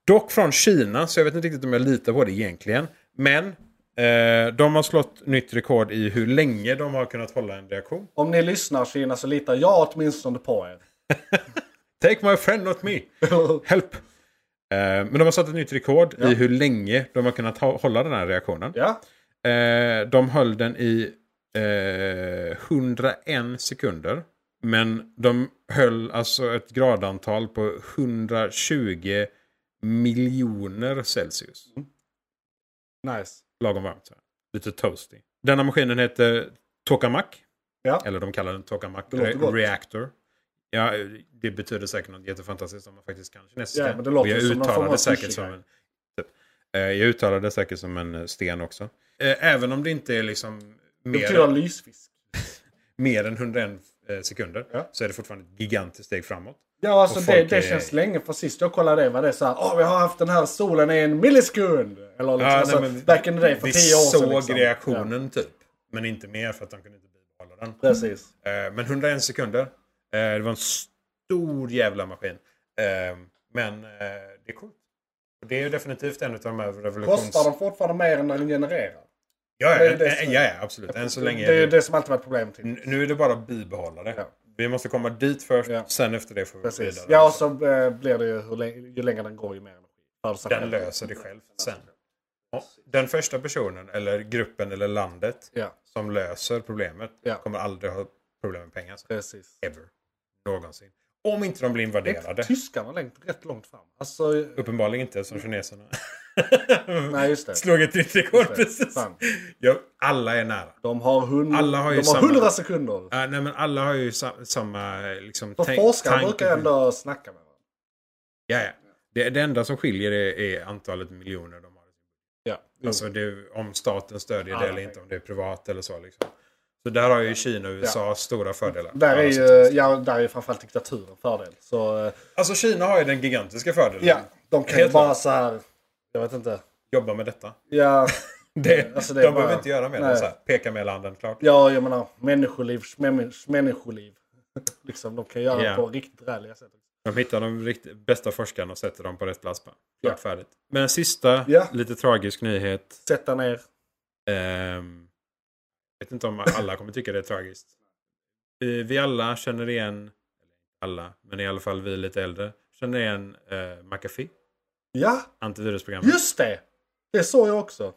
Dock från Kina, så jag vet inte riktigt om jag litar på det egentligen. Men eh, de har slått nytt rekord i hur länge de har kunnat hålla en reaktion.
Om ni lyssnar Kina så litar jag åtminstone på er.
Take my friend not me! Help! Eh, men de har satt ett nytt rekord i hur länge de har kunnat ha- hålla den här reaktionen.
ja,
Eh, de höll den i eh, 101 sekunder. Men de höll alltså ett gradantal på 120 miljoner Celsius.
nice.
Lagom varmt. Så här. Lite toasty. Denna maskinen heter Tokamak.
Ja.
Eller de kallar den Tokamak
Det låter
Re-
gott.
Reactor. Ja, det betyder säkert något jättefantastiskt om man faktiskt kan kinesiska.
Ja, men det låter
Och jag
ju som någon
uttalar
form av
det säkert
sushi
som
guy.
en... Typ. Eh, Jag uttalar det säkert som en eh, sten också. Eh, Även om det inte är liksom
Det
mer,
betyder lysfisk.
mer än 101 eh, sekunder
Ja.
så är det fortfarande ett gigantiskt steg framåt.
Ja, alltså
Och
det,
folk
det
är-
känns länge. För sist jag kollade det var det så här, åh vi har haft den här solen i en millisekund. Eller liksom,
Ja,
alltså,
Ah, nej, men
back in the day för
vi
tio år sedan.
såg
liksom.
reaktionen typ. Men inte mer för att de kunde inte bibehålla den.
Ja, precis.
Eh, Men 101 sekunder. Eh, Det var en stor jävla maskin. Eh, Men eh, det är coolt. Och Det är ju definitivt en av de här revolutions...
Kostar de fortfarande mer än den genererar?
Ja,
det
ja,
är det som-
en- ja, ja, absolut. Än så länge.
det är
är
ju
det... Mm.
det som alltid varit problemet. Till.
N- Nu är det bara att bibehålla det.
Ja.
Vi måste komma dit först.
Ja.
Sen efter det får vi gå
Precis.
vidare.
Ja, och så eh, blir det ju hur länge, ju längre den går ju mer energi. Förutsatt
Den
att-
löser det själv sen. Ja, Den första personen, eller gruppen, eller landet
Ja,
som löser problemet
Ja.
kommer aldrig ha problem med pengar.
precis.
Ever. Någonsin. Om inte de blir invaderade.
Tyskarna längt rätt långt fram. Alltså,
Uppenbarligen inte som kineserna.
nej just det.
Slog ett nytt rekord
Just det.
precis.
Fan.
Ja, alla är nära.
De har, hund...
Alla har ju
de har
samma-
100 sekunder.
Ja, nej, men alla har ju sa- samma eh, liksom,
För
tänk-
forskare
tanke-
brukar ändå snacka med varandra.
Ja, ja. Det, det enda som skiljer är, är antalet miljoner de har.
Ja.
Alltså det, är om staten stödjer det
Mm. Ja,
eller
ja.
inte, om det är privat eller så. Liksom. Så där har ju Kina och USA stora fördelar.
Där är
Alla som-
ju eh, ja, där är ju framförallt diktaturen en fördel. Så eh,
Alltså Kina har ju den gigantiska fördelen.
ja, de kan ju
Helt
bara
klart.
så här, jag vet inte.
Jobba med detta.
Ja,
Det,
Alltså, det är
de
bara-
behöver inte göra mer
Nej.
än så här, peka med handen klart.
ja jag menar människoliv, smämmi- människoliv. Liksom, de kan göra
Ja.
på riktigt räliga sätt.
De hittar de rikt- bästa forskarna och sätter dem på rätt plats. bara. Klart
Ja.
färdigt. Men en sista,
Ja.
lite tragisk nyhet.
Sätta ner.
Ehm, Jag vet inte om alla kommer tycka det är tragiskt. Vi, vi alla känner igen, alla, men i alla fall vi lite äldre, känner igen eh, McAfee,
Ja,
antivirusprogrammet.
just det! Det såg jag också.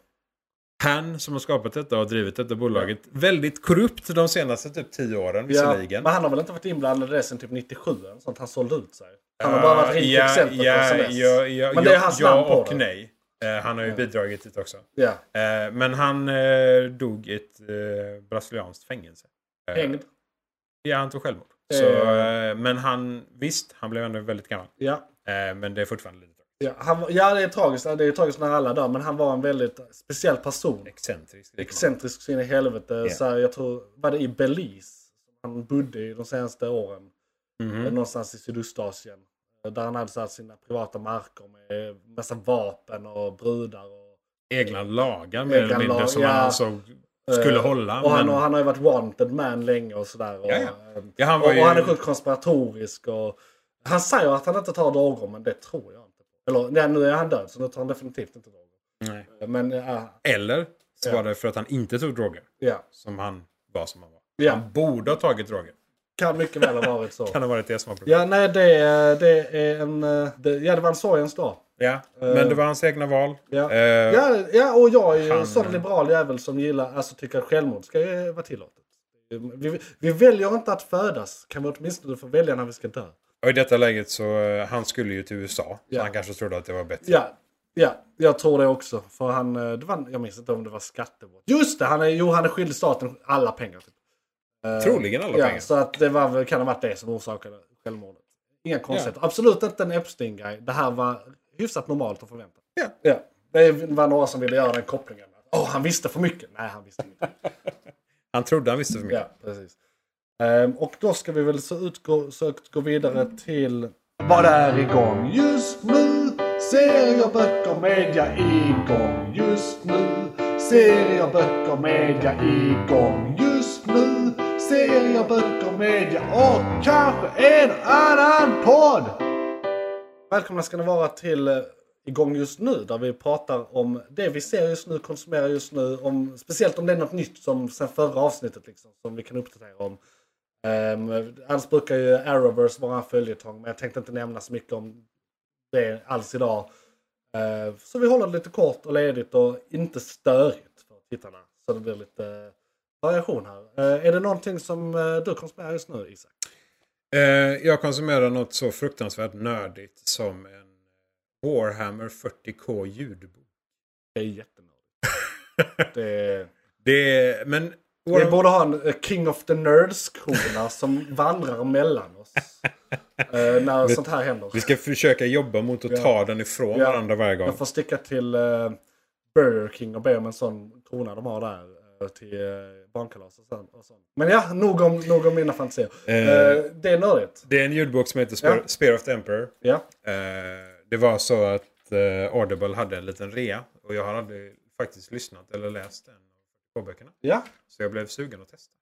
Han som har skapat detta och drivit detta bolaget, väldigt korrupt de senaste typ tio åren visserligen.
men han har väl inte varit inblandad i det sen typ 97? eller Sånt han sålde ut sig. Han har
Eh,
bara varit rikt
ja,
exempel
ja,
på SNS.
ja, ja,
men det är
ja,
hans
ja
namn på
och
det.
nej. Eh, han har ju bidragit till det också.
Ja,
Eh, men han eh, dog i ett eh, brasilianskt fängelse. Eh,
hängd.
Ja, han tog självmord.
Eh.
Så, eh, men han, visst, han blev ändå väldigt gammal.
Ja.
Eh, Men det är fortfarande lite
Ja, han, var- ja, det är tragiskt. Det är tragiskt när alla dör. Men han var en väldigt speciell person.
excentriskt.
Excentrisk så in i helvete. Så här, jag tror, var det i Belize? Han bodde i de senaste åren.
Mhm.
Eh, Någonstans i Sydostasien. Eh, Där han hade så här, sina privata marker med eh, massa vapen och brudar. Och,
Egna lagar mer
Egna
eller mindre
lag,
som
ja.
han ansåg skulle
eh,
hålla.
Och han,
men...
och han har ju varit wanted man länge och sådär. Och,
Ja, ja.
eh,
Ja, han
och,
var ju-
och han är sjukt konspiratorisk. Och, han säger att han inte tar droger men det tror jag inte. Eller ja, nu är han död så nu tar han definitivt inte droger. Eh,
Nej.
Men ja,
Eller så
Ja.
var det för att han inte tog droger.
ja.
Som han var som han var.
Ja.
Han borde ha tagit droger.
Kan mycket väl ha varit så.
Kan ha varit det som var problemet.
Ja, nej, det, det är en... eh, Det, ja, det var en sorgens dag.
Ja. Men det var hans egna val.
Eh. Ja.
Eh,
Ja, ja, och jag är ju en
han-
sån liberal jävel som gillar, alltså tycker att självmord ska ju vara tillåtet. Vi, vi väljer inte att födas, kan vi åtminstone få välja när vi ska dö.
Och i detta läget så, eh, han skulle ju till USA.
Ja.
Så han kanske trodde att det var bättre.
Ja, ja, jag tror det också. För han, eh, det var, jag minns inte om det var skattebrott. Just det, han är, jo, han är skyldig staten alla pengar. Typ. Eh,
Troligen alla
ja,
pengar.
Så att det var, väl- kan ha varit det som orsakade självmordet. Inga konstigheter. Absolut inte en Epstein-grej. Det här var hyfsat normalt att förvänta.
Ja.
ja. Det var några som ville göra den kopplingen. Åh, han visste för mycket. Nej, han visste ingenting.
Han trodde han visste för mycket.
Ja, precis. Ehm, och då ska vi väl så utgå, sökt gå vidare till Vad är igång just nu? Serier, böcker, media igång just nu. Serier, böcker, media igång just nu. Serier, böcker, media och kanske en annan podd! Välkomna ska ni vara till eh, igång just nu där vi pratar om det vi ser just nu, konsumerar just nu. Om, speciellt om det är något nytt som sen förra avsnittet liksom, som vi kan uppdatera om. Um, annars brukar ju Arrowverse vara en följetong men jag tänkte inte nämna så mycket om det alls idag. Eh, så vi håller det lite kort och ledigt och inte störigt för tittarna. Så det blir lite eh, variation här. Eh, är det någonting som eh, du konsumerar just nu Isak?
Eh, jag konsumerar något så fruktansvärt nördigt som en Warhammer 40K ljudbok.
Det är jättenördigt. det är...
Det är, men
Vi
Warhammer-
borde ha en eh, King of the Nerds-krona som vandrar mellan oss. eh, när sånt här händer.
vi ska försöka jobba mot att
Ja.
ta den ifrån
Ja.
varandra varje gång.
Jag får sticka till eh, Burger King och be om en sån krona de har där. eh, Till eh, barnkalas och sånt. Och sånt. Men ja, nog om, nog om mina fantasier.
Eh.
Eh, det är nördigt.
Det är en ljudbok som heter Spear,
Ja.
Spear of the Emperor.
Ja.
Eh, det var så att eh, Audible hade en liten rea och jag har aldrig faktiskt lyssnat eller läst en av K-böckerna.
ja.
Så jag blev sugen att testa.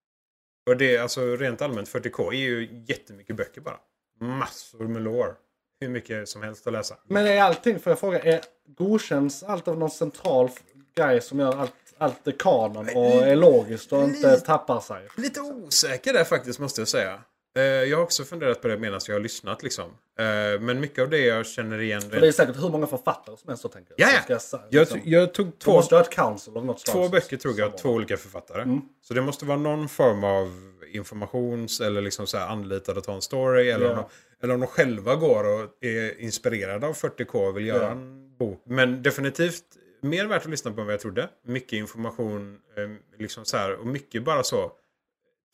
Och det är alltså rent allmänt 40K är ju jättemycket böcker bara. Massor med lår. Hur mycket som helst att läsa.
Men är allting, får jag fråga, är, godkänns allt av någon central f- grej som gör allt, allt är kanon och är logiskt och inte tappar sig?
Lite osäker där faktiskt måste jag säga. Eh, jag har också funderat på det medan jag har lyssnat liksom. Eh, men mycket av det jag känner igen
För det är
rent...
säkert hur många författare som helst som tänker.
Ja,
som
ja.
sa-
Jag,
liksom-
jag tog
Två,
två
måste ha ett council av något slag.
Två
som-
böcker tror jag,
som-
två olika författare.
Mm.
Så det måste vara någon form av informations eller liksom så här anlitad att ta en story. Eller, om,
Ja.
de, eller om de själva går och är inspirerade av 40K och vill göra
Ja.
en bok. Men definitivt mer värt att lyssna på än vad jag trodde. Mycket information eh, liksom så här, och mycket bara så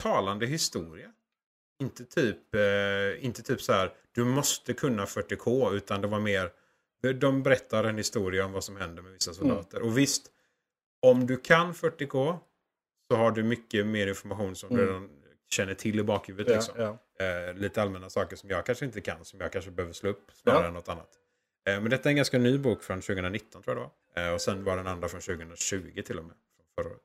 talande historia. Inte typ, eh, inte typ så här, du måste kunna 40K utan det var mer, de berättar en historia om vad som händer med
Mm.
vissa soldater. Och visst, om du kan 40K så har du mycket mer information som du redan känner till i bakhuvudet.
Mm. Ja,
liksom.
ja.
Eh, lite allmänna saker som jag kanske inte kan, som jag kanske behöver slå upp snarare
Ja.
än något annat. Eh, men detta är en ganska ny bok från 2019 tror jag det var. Eh, och sen var den andra från 2020 till och med. Från förra året.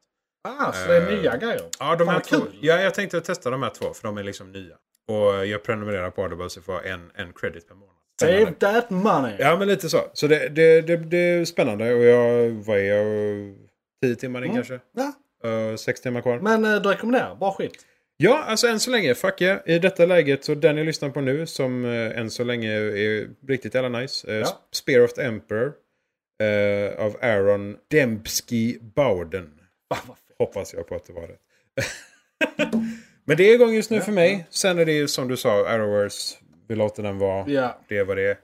Ah, så det är
Eh,
nya grejer?
Ja, de
Fan,
här
vad
två,
kul.
ja, jag tänkte testa de här två för de är liksom nya. Och jag prenumererar på Audible så får jag en, en credit per månad.
Save that money!
Ja, men lite så. Så det, det, det, det är spännande och jag, vad är jag, 10 timmar
Mm.
in kanske?
Ja,
Eh, sex timmar kvar.
Men eh, du rekommenderar, bra skit.
Ja, alltså än så länge, fuck yeah. I detta läget, så den jag lyssnar på nu som eh, än så länge är riktigt jävla nice. Eh,
Ja.
S- Spear of the Emperor eh, av Aaron Dembski Bowden.
Fan, vad fett.
Hoppas jag på att det var rätt. Men det är igång just nu för mig. Sen är det ju som du sa, Arrowverse. Vi låter den vara.
Ja,
Det är vad det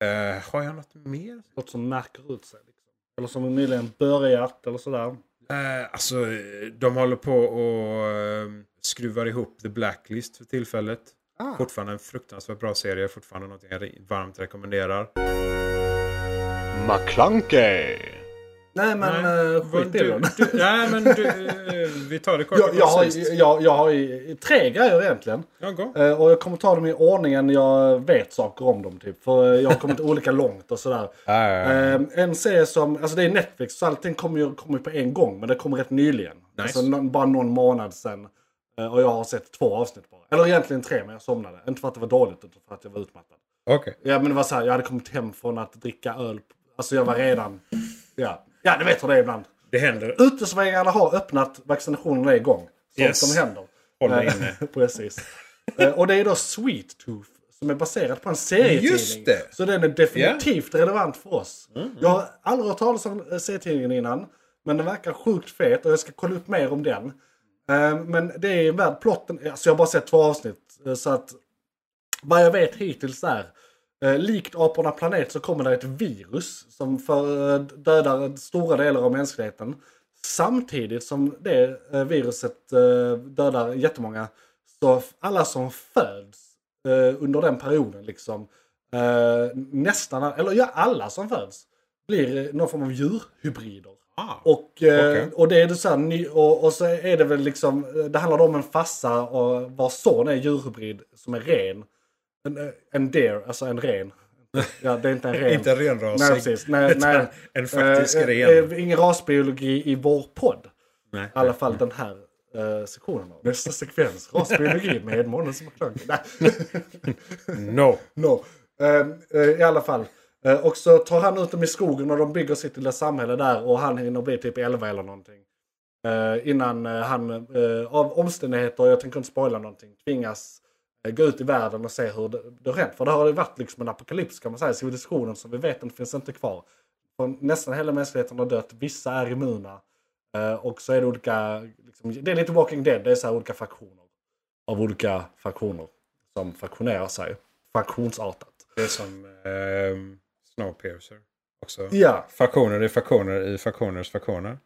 är. Eh, har jag något mer?
något som märker ut sig. Liksom. Eller som nyligen börjat eller sådär.
Eh, alltså, eh, de håller på och eh, skruvar ihop The Blacklist för tillfället.
Ah.
Fortfarande en fruktansvärt bra serie. Fortfarande något jag re- varmt rekommenderar.
McClunkey.
Nej men eh, skit i
du,
den.
du, nej, men du, eh, vi tar det kort och
Jag, jag, har,
koncist.
jag, jag har ju tre grejer egentligen.
Ja, gå.
Eh, Och jag kommer ta dem i ordningen jag vet saker om dem. Typ. För eh, jag har kommit olika långt och sådär. Ehm, en serie som, alltså det är Netflix så allting kommer ju kommer ju på en gång men det kom rätt nyligen. Alltså någon, bara någon månad sedan. Eh, Och jag har sett två avsnitt bara. Eller egentligen tre men jag somnade. Inte för att det var dåligt utan för att jag var utmattad.
Okej.
Ja men det var så här, jag hade kommit hem från att dricka öl. Alltså jag var redan, ja. Ja du vet hur det är ibland.
Det händer.
Utesvängarna har öppnat, vaccinationerna är igång. Sånt
Yes.
som händer.
Håll dig
Eh, Precis. Eh, Och det är då Sweet Tooth som är baserat på en serietidning.
Just det.
Så den är definitivt relevant för oss. Jag har aldrig hört talas om eh, serietidningen innan. Men den verkar sjukt fet och jag ska kolla upp mer om den. Eh, Men det är en värld, plotten, alltså jag har bara sett två avsnitt. eh, Så att vad jag vet hittills är, eh, likt aporna planet så kommer det ett virus som för, eh, dödar stora delar av mänskligheten. Samtidigt som det eh, viruset eh, dödar jättemånga, så f- alla som föds eh, under den perioden liksom, eh, Eh, nästan, eller ja, alla som föds blir eh, någon form av djurhybrider.
Ah,
Och, eh,
Okej.
och det är det så här, ny, och, och så är det väl liksom, eh, det handlar om en fassa och vars son är djurhybrid som är ren. En, eh, en deer, alltså en ren. Ja, det är inte en ren.
Inte renrasig.
Nej, precis. Nej,
utan
nej.
En faktisk
Eh,
ren.
eh, Ingen rasbiologi i vår podd.
nej.
I alla fall den här eh, sektionen. av- Nästa sekvens, rasbiologi med månens McClunky. Nej.
No.
No. Ehm, eh, I alla fall. Eh, och så tar han ut dem i skogen och de bygger sitt lilla samhälle där och han hinner bli typ 11 eller någonting. Eh, innan eh, han eh, av omständigheter, jag tänker inte spoila någonting, tvingas eh, gå ut i världen och se hur det, det har hänt. För det har ju varit liksom en apokalyps kan man säga. Civilisationen som vi vet den finns inte kvar. För nästan hela mänskligheten har dött, vissa är immuna. Eh, och så är det olika, liksom, det är lite Walking Dead, det är så här olika fraktioner. Av olika fraktioner som fraktionerar sig. Fraktionsartat.
Det är som ehm, Snowpiercer. Också.
Ja, Oh,
Faktioner i faktioner i faktioners faktioner.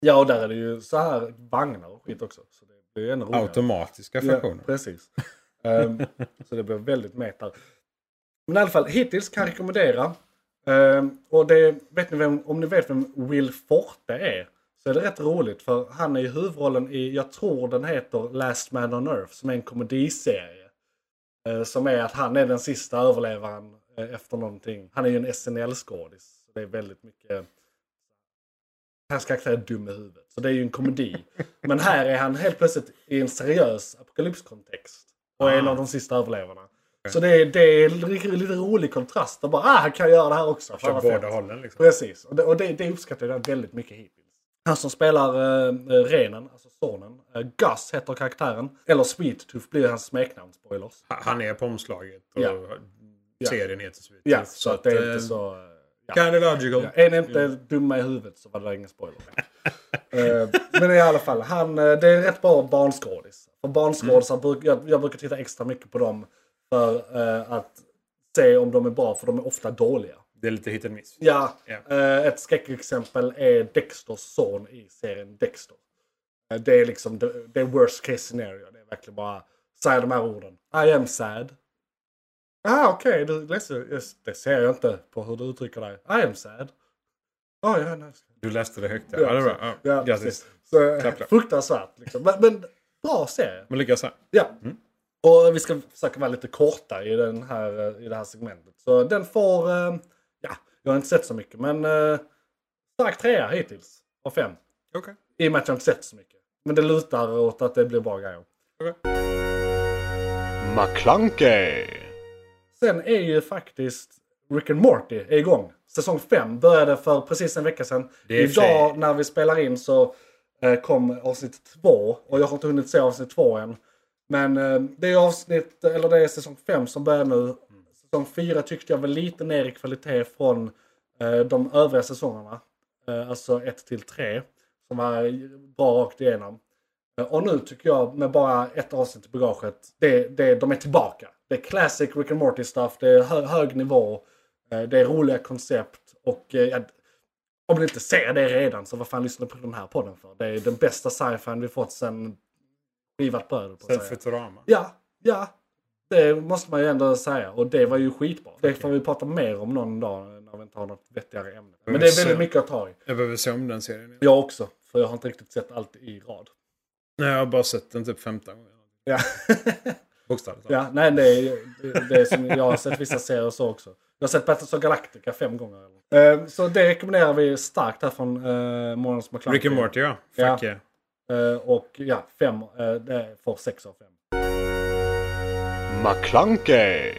ja och där är det ju så här vagnar och skit också. Så det blir ju ännu roligare.
Automatiska
ja,
faktioner.
precis. Ehm, så det blir väldigt meta. Men i alla fall, hittills kan jag rekommendera. Ehm, och det, vet ni vem, om ni vet vem Will Forte är så är det rätt roligt för han är ju huvudrollen i, jag tror den heter Last Man on Earth som är en komediserie. Eh, som är att han är den sista överlevaren eh, efter någonting. Han är ju en SNL-skådis. Det är väldigt mycket... Hans karaktär är dum i huvudet. Så det är ju en komedi. Men här är han helt plötsligt i en seriös apokalypskontext. Och är en
Ah.
av de sista överlevarna. Så det är, det är lite lite rolig kontrast. Och bara, ah, han kan göra det här också. Fan,
Kör
vad
båda
fett.
hållen liksom.
Precis, och det, och det, det uppskattar jag väldigt mycket hittills. Han som spelar eh, eh, renen, alltså sonen, eh, Gus heter karaktären. Eller Sweet Tooth blir hans smeknamn, spoilers.
Ha- Han är på omslaget och
Ja.
serien heter så vidare.
Ja, så, att det är inte så... eh, Mm. Ja.
Kind of logical. Mm.
Ja, är ni inte dumma i huvudet så var det ingen spoiler. Eh, men i alla fall, han, eh, det är rätt bra barnskådis. För barnskådisar, bruk, jag, jag brukar titta extra mycket på dem för eh, att se om de är bra, för de är ofta dåliga.
Det är lite hit and miss.
Ja,
Ja.
eh, ett skräckexempel är Dexters son i serien Dexter. Eh, Det är liksom det, det är worst case scenario. Det är verkligen bara säga de här orden. I am sad. Ah, okej, du är ledsen. Yes, det ser jag inte på hur du uttrycker dig. I am sad. Ah, ja, nej.
Du läste det högt där. Ja, det var bra.
Ja,
Ja,
precis.
Grattis.
Så, eh,
Klapp, klapp.
fruktansvärt. Liksom. Men, men bra serie.
Men lyckas han.
Ja. Och vi ska försöka vara lite korta i, den här, eh, i det här segmentet. Så den får, eh, ja, jag har inte sett så mycket men eh, stark trea hittills. Av fem.
Okej.
I och med att jag inte sett så mycket. Men det lutar åt att det blir bra grejer.
Okej.
McClunkey,
Sen är ju faktiskt Rick and Morty är igång. Säsong 5 började för precis en vecka sedan.
Det är i och för sig-
Idag när vi spelar in så eh, kom avsnitt 2. Och jag har inte hunnit se avsnitt 2 än. Men eh, det är avsnitt, eller det är säsong 5 som börjar nu. Säsong 4 tyckte jag var lite ner i kvalitet från eh, de övriga säsongerna. Eh, alltså 1 till 3. Som var bra rakt igenom. Eh, Och nu tycker jag med bara ett avsnitt i bagaget, det, det, de är tillbaka. Det är classic Rick and Morty stuff, det är hö, hög nivå, eh, det är roliga koncept och eh, ja, om ni inte ser det redan så vad fan lyssnar ni på den här podden för? Det är den bästa sci-fin vi fått sen skivat bröd. höll på att
Sen
säga.
Futurama.
Ja, ja. Det måste man ju ändå säga. Och det var ju skitbra. Det får vi prata mer om någon dag när vi inte har något vettigare ämne. Men det är väldigt
Så-
mycket att ta i.
Jag behöver se om den serien. igen.
Mm, Jag också, för jag har inte riktigt sett allt i rad.
Nej, jag har bara sett den typ 15 gånger.
Ja.
Bokstavligt
Ja, nej, det är, det är som jag har sett vissa serier så också. Jag har sett Battles of Galactica fem gånger.
Ehm,
Eh, Så det rekommenderar vi starkt här från uh, Morgonens McClunky.
Rick and Morty, ja. Fuck
Ja.
yeah. yeah.
Eh, Och ja, fem, eh, det får sex av fem.
McClunkey,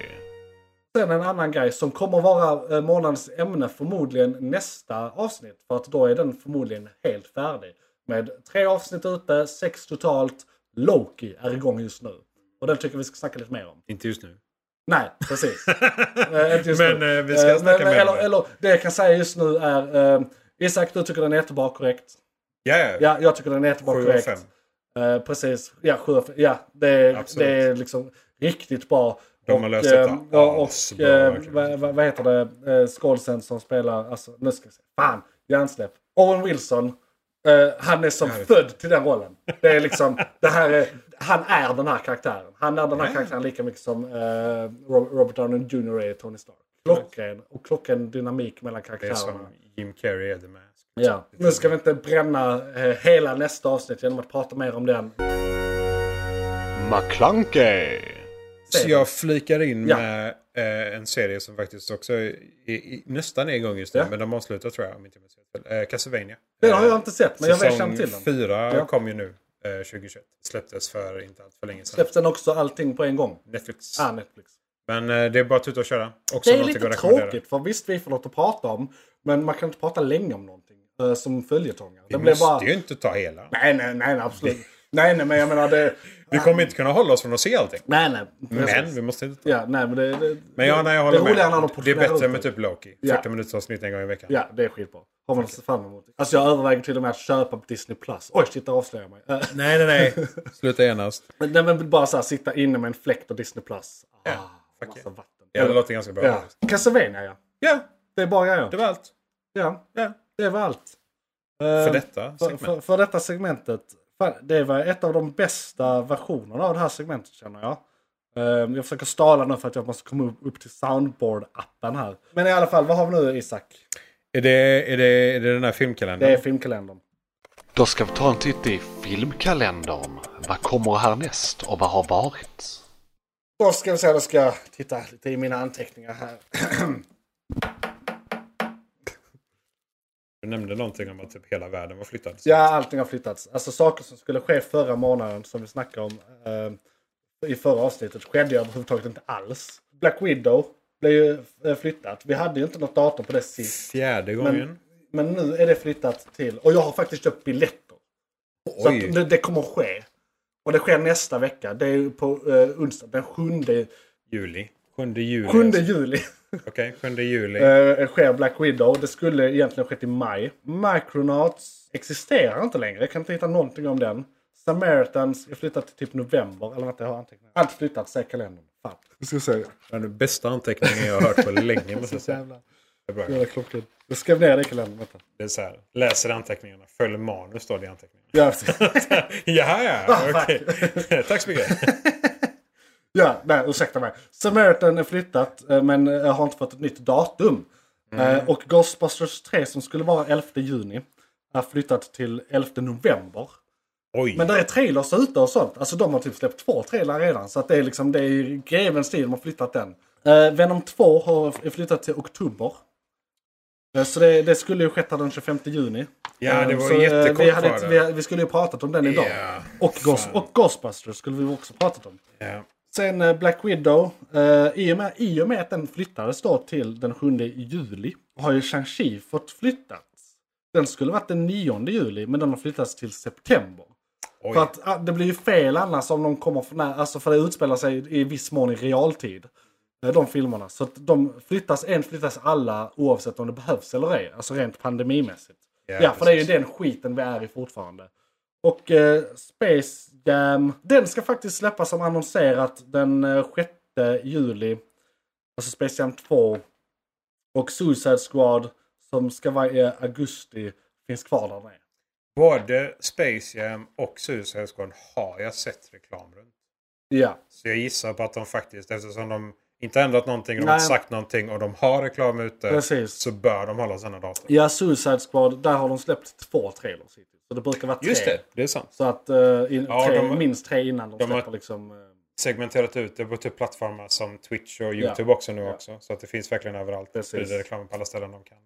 Sen en annan grej som kommer vara eh, månadens ämne förmodligen nästa avsnitt. För att då är den förmodligen helt färdig. Med tre avsnitt ute, sex totalt. Loki är igång just nu. Och den tycker vi ska snacka lite mer om.
Inte just nu.
Nej, precis. Eh, inte just
Men
nu.
eh, vi ska
Eh,
snacka
men,
mer om
eller,
det.
eller det jag kan säga just nu är... Eh, Isak, du tycker den är jättebra korrekt.
Ja, ja.
Ja, jag tycker den är jättebra
Sju av
korrekt.
fem.
Eh, precis. Ja, sju av fem. Ja, det är,
Absolut.
det är liksom riktigt bra.
De har löst detta
eh, ja, och
asbra,
eh,
verkligen.
vad vad- vad heter det? Eh, Skålsen som spelar... Alltså, nu ska vi se. Fan! Hjärnsläpp. Owen Wilson Eh, han är som född till den rollen. Det är liksom, det här är, han är den här karaktären. Han är den här karaktären lika mycket som eh, Ro- Robert Downey Jr är Tony Stark. Klockren, och klockren dynamik mellan
Det är som
karaktärerna.
Jim Carrey är The Mask.
Ja. Nu ska vi inte bränna eh, hela nästa avsnitt genom att prata mer om den.
McClunkey.
Så jag flikar in
Ja.
med eh, en serie som faktiskt också är, i, i, nästan är igång just nu.
Ja.
Men de avslutar tror jag om inte jag minns fel. Eh, Castlevania.
Den har jag inte sett, men jag vet
Säsong
känna till den.
fyra
Ja.
kom ju nu. Eh, 2021. Släpptes för inte allt för länge sedan.
Släpps den också allting på en gång?
Netflix.
Ah, Netflix.
Men eh, det är bara att tuta och köra. Också
Det är
någonting
lite
att rekommendera.
tråkigt, för visst vi får något att prata om, men man kan inte prata länge om någonting eh, som följetongare.
Vi
Det blir
måste
bara...
ju inte ta hela.
Nej, nej, nej, nej, absolut. nej, nej, men jag menar det...
Vi kommer inte kunna hålla oss från att se allting.
Nej, nej.
Men
Precis.
vi måste inte ta
Ja, nej, men det... det
Men ja, nej, jag håller
det är roligare när de
med. Det är
portionerar
bättre
ut
med
det.
typ Loki. 40
Ja.
minuters avsnitt en gång i veckan.
Ja, det är skitbra. Har man att se fram emot. Alltså jag överväger till och med att köpa på Disney+. Plus. Oj, shit, där avslöjar jag mig. Eh,
Nej, nej, nej. Sluta genast.
men- nej, men bara så här, sitta inne med en fläkt och Disney+. Plus. Ah,
fuck
massa
yeah.
vatten.
Ja, det låter ganska bra.
Ja.
Ja,
Castlevania, ja. Det är bara jag.
det var allt.
Ja,
Ja.
det var allt.
För
Eh,
detta
För,
segment.
för, för detta segmentet. Fan, det var ett av de bästa versionerna av det här segmentet känner jag. Ehm, Jag försöker stala nu för att jag måste komma upp- upp till soundboard-appen här. Men i alla fall, vad har vi nu Isak?
Är, det, är, det, är det den här
Det
filmkalendern?
är filmkalendern.
Då ska vi ta en titt i filmkalendern. Vad kommer härnäst och vad har varit?
Då ska vi se, då ska jag titta lite i mina anteckningar här.
Du nämnde någonting om att typ hela världen var flyttad.
Ja, allting har flyttats. Alltså saker som skulle ske förra månaden som vi snackade om eh, i förra avsnittet skedde ju överhuvudtaget inte alls. Black Widow blev ju eh, flyttat. Vi hade ju inte något datum på det sist.
Fjärde gången.
Men, men nu är det flyttat till, och jag har faktiskt köpt biljetter. Så
Oj.
att det, det kommer att ske. Och det sker nästa vecka. Det är ju på eh, onsdag den 7,
Juli. 7 juli.
7 juli.
Okej, 7 juli.
eh, sker Black Widow. Det skulle egentligen ha skett i maj. Micronauts existerar inte längre. Jag kan inte hitta någonting om den. Samaritans är flyttat till typ november. Eller vad det har antecknat. Allt flyttat, säg kalendern. Fan. Vi ska se.
Den bästa anteckningen jag har hört på länge måste jag säga.
Jävlar.
Det är bra.
Jävla klockan. Jag skrev ner det i kalendern. Vänta.
Det är så här. Läser anteckningarna. Följ manus står det i anteckningarna.
Ja, precis.
ja, ja.
Ah,
Okej. Tack så mycket.
Ja, nej, ursäkta mig. Samaritan är flyttat eh, men eh, har inte fått ett nytt datum. Eh, Och Ghostbusters 3 som skulle vara 11 juni är flyttat till 11 november.
Oj.
Men där är trailers ute och sånt. Alltså de har typ släppt två trailrar redan. Så att det är liksom, det är i grevens tid de har flyttat den. Eh, Venom 2 har är flyttat till oktober. Eh, Så det, det skulle ju skett här den 25 juni.
Ja, det
Eh,
var
så, eh,
jättekort
vi, hade,
var
inte-
det.
vi, vi skulle ju pratat om den idag.
Ja,
och, Ghost, och Ghostbusters skulle vi också pratat om.
Ja.
Sen eh, Black Widow. Eh, i, och med, I och med att den flyttades då till den 7 juli har ju Shang-Chi fått flyttat. Den skulle varit den 9 juli men den har flyttats till september.
Oj.
För att ah, det blir ju fel annars om de kommer för nära, alltså för det utspelar sig i viss mån i realtid. eh, De filmerna. Så att de flyttas, en flyttas alla oavsett om det behövs eller ej. Alltså rent pandemimässigt.
Ja,
Ja, för det är ju
precis.
den skiten vi är i fortfarande. Och eh, Space Jam, den ska faktiskt släppas som annonserat den eh, 6 juli. Alltså Space Jam 2. Och Suicide Squad som ska vara i augusti finns kvar där den är.
Både Space Jam och Suicide Squad har jag sett reklam runt.
Ja.
Så jag gissar på att de faktiskt, eftersom de inte ändrat någonting, de har
Nej.
inte sagt någonting och de har reklam ute.
Precis.
Så bör de hålla sina data.
Ja, Suicide Squad, där har de släppt två trailers hittills. Så det brukar vara tre.
Just det, det är sant.
Så att eh, in,
Ja,
tre,
de-
minst tre innan de,
de har-
släpper liksom... eh,
Segmenterat ut det på typ plattformar som Twitch och YouTube också nu också. Så att det finns verkligen överallt.
Precis.
Det är reklam på alla ställen de kan.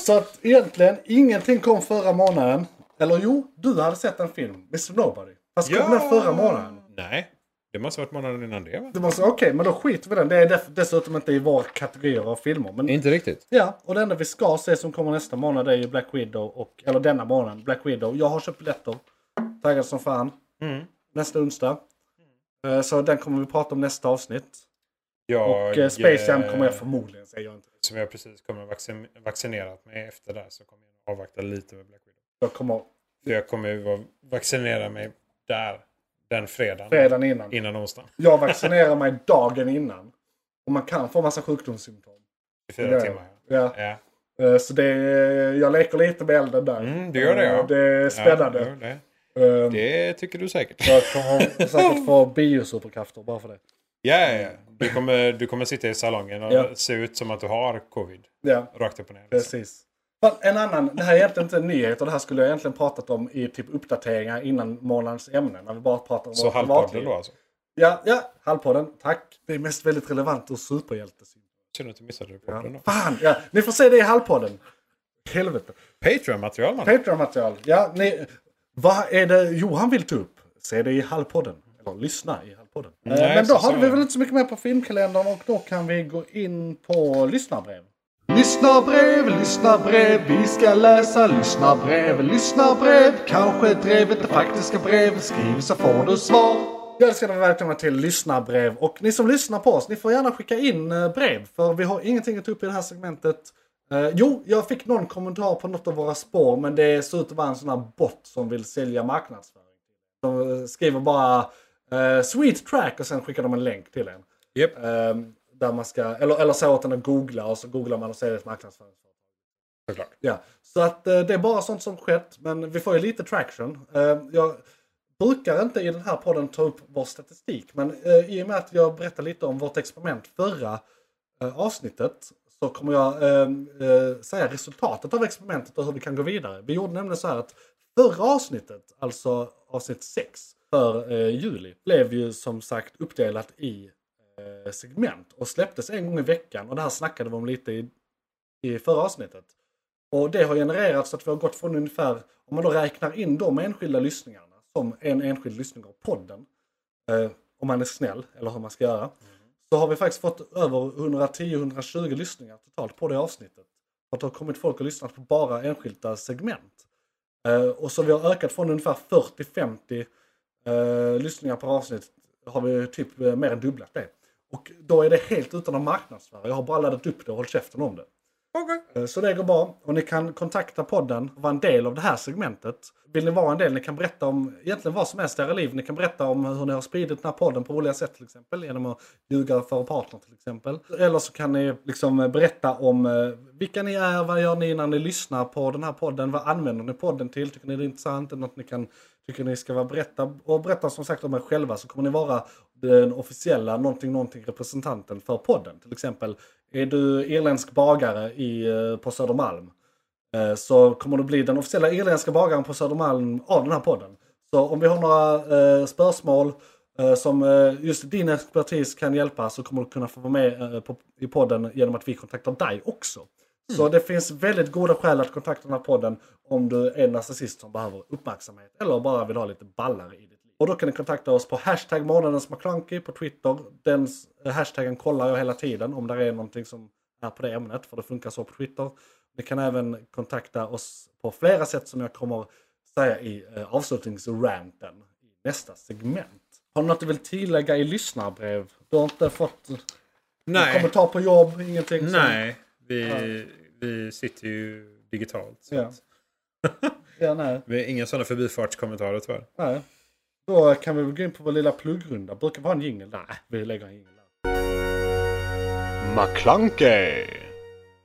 Så att egentligen ingenting kom förra månaden. Eller jo, du hade sett en film, Mr Nobody. Fast kom den förra månaden?
Nej, det måste ha varit månaden innan det va?
Det var så, Okej, men då skiter vi i den. Det är def- dessutom inte i vår kategori av filmer. Men
Inte riktigt.
ja, och det enda vi ska se som kommer nästa månad är ju Black Widow. Och, eller denna månad, Black Widow. Jag har köpt biljetter. Taggad som fan.
Mm.
Nästa onsdag. Eh, Så den kommer vi prata om nästa avsnitt.
Jag,
Och eh, Space Jam
eh,
kommer jag förmodligen säga. Jag inte.
Som jag precis kommer att vaccin- vaccinerat mig efter där så kommer jag avvakta lite med Black Widow.
Jag kommer
För jag kommer ju att vaccinera mig där. Den fredagen.
fredagen innan.
Innan onsdagen.
Jag vaccinerar mig dagen innan. Och man kan få massa sjukdomssymptom.
I fyra
Ja.
timmar.
Ja.
Ja.
Eh, Så det, jag leker lite med elden där.
Mm, du gör det, ja.
Eh, Det är spännande.
Ja, det,
Eh,
det tycker du säkert.
Jag kommer säkert få biosuperkrafter bara för det.
Ja, ja, ja. Du, kommer, du kommer sitta i salongen och
Ja.
se ut som att du har covid.
Ja,
Rakt upp och ner. liksom.
precis. Fan, En annan, det här är egentligen inte en nyhet och det här skulle jag egentligen pratat om i typ uppdateringar innan månadens ämne. När vi bara pratar om
Så
vårt
halvpodden
privatliv.
då alltså.
Ja, ja, halvpodden. Tack. Det är mest väldigt relevant ur superhjältesynpunkt.
Synd att du missade det i
Ja.
podden då.
Fan, ja. Ni får se det i halvpodden. Helvete.
Patreon-material man.
Patreon-material. Ja, ni, vad är det Johan vill ta upp? Se det i halvpodden. Eller lyssna i halvpodden.
Nej,
Eh, Men då
så-
hade
så-
vi väl inte så mycket mer på filmkalendern och då kan vi gå in på lyssnarbrev. Lyssnarbrev, lyssnarbrev, vi ska läsa lyssnarbrev, lyssnarbrev. Kanske drevet det faktiska brev, skriv så får du svar. Jag älskar dig välkomna till lyssnarbrev och ni som lyssnar på oss, ni får gärna skicka in eh, brev för vi har ingenting att ta upp i det här segmentet. Eh, jo, jag fick någon kommentar på något av våra spår men det ser ut att vara en sån här bot som vill sälja marknadsföring. De eh, skriver bara eh, “sweet track” och sen skickar de en länk till en.
Japp.
Ehm, där man ska, eller, eller säga åt den att googla och så googlar man och ser det ett marknadsföringsföretag.
Såklart.
Ja, så att eh, det är bara sånt som skett men vi får ju lite traction. Ehm, jag brukar inte i den här podden ta upp vår statistik men eh, i och med att jag berättade lite om vårt experiment förra eh, avsnittet så kommer jag ehm, eh, säga resultatet av experimentet och hur vi kan gå vidare. Vi gjorde nämligen så här att förra avsnittet, alltså avsnitt 6 för eh, juli, blev ju som sagt uppdelat i eh, segment och släpptes en gång i veckan. Och det här snackade vi om lite i, i förra avsnittet. Och det har genererats att vi har gått från ungefär, om man då räknar in de enskilda lyssningarna som en enskild lyssning av podden, eh, om man är snäll eller hur man ska göra, så har vi faktiskt fått över 110-120 lyssningar totalt på det avsnittet. För att det har kommit folk och lyssnat på bara enskilda segment. Eh, och så vi har ökat från ungefär 40-50 eh, lyssningar per avsnitt har vi typ eh, mer än dubblat det. Och då är det helt utan att marknadsföra. Jag har bara laddat upp det och hållit käften om det.
Okej.
Eh, Så det går bra. Och ni kan kontakta podden och vara en del av det här segmentet. Vill ni vara en del, ni kan berätta om egentligen vad som helst i era liv. Ni kan berätta om hur ni har spridit den här podden på olika sätt till exempel. Genom att ljuga för partner till exempel. Eller så kan ni liksom eh, berätta om eh, vilka ni är, vad gör ni när ni lyssnar på den här podden? Vad använder ni podden till? Tycker ni det är intressant? Är det något ni kan tycker ni ska vara berätta och berätta som sagt om er själva så kommer ni vara den officiella någonting någonting representanten för podden. Till exempel är du irländsk bagare i, eh, på Södermalm eh, så kommer du bli den officiella irländska bagaren på Södermalm av den här podden. Så om vi har några eh, spörsmål eh, som eh, just din expertis kan hjälpa så kommer du kunna få vara med eh, på, i podden genom att vi kontaktar dig också. Så det finns väldigt goda skäl att kontakta den här podden om du är en narcissist som behöver uppmärksamhet eller bara vill ha lite ballar i ditt liv. Och då kan ni kontakta oss på hashtag månadens McClunky på Twitter. Den s- hashtaggen kollar jag hela tiden om det är någonting som är på det ämnet för det funkar så på Twitter. Ni kan även kontakta oss på flera sätt som jag kommer säga i eh, avslutningsranten i nästa segment. Har du något du vill tillägga i lyssnarbrev? Du har inte fått någon
Nej.
kommentar på jobb? Ingenting? som-
Nej. Vi, vi sitter ju digitalt. Så
Ja.
att-
ja, nej.
Vi har inga sådana förbifartskommentarer tyvärr.
Nej. Då kan vi väl gå in på vår lilla pluggrunda. Brukar vi ha en jingel? Nej, vi lägger en jingel där.
McClunkey!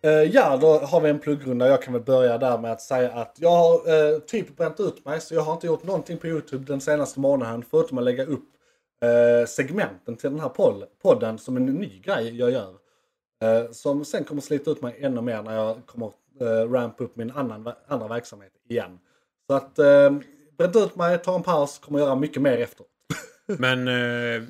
Eh, ja, då har vi en pluggrunda. Jag kan väl börja där med att säga att jag har eh, typ bränt ut mig. Så jag har inte gjort någonting på YouTube den senaste månaden. Förutom att lägga upp eh, segmenten till den här poll- podden som en ny grej jag gör. Eh, som sen kommer slita ut mig ännu mer när jag kommer eh, rampa upp min annan, andra verksamhet igen. Så att eh, bränt ut mig, ta en paus, kommer göra mycket mer efteråt.
Men eh,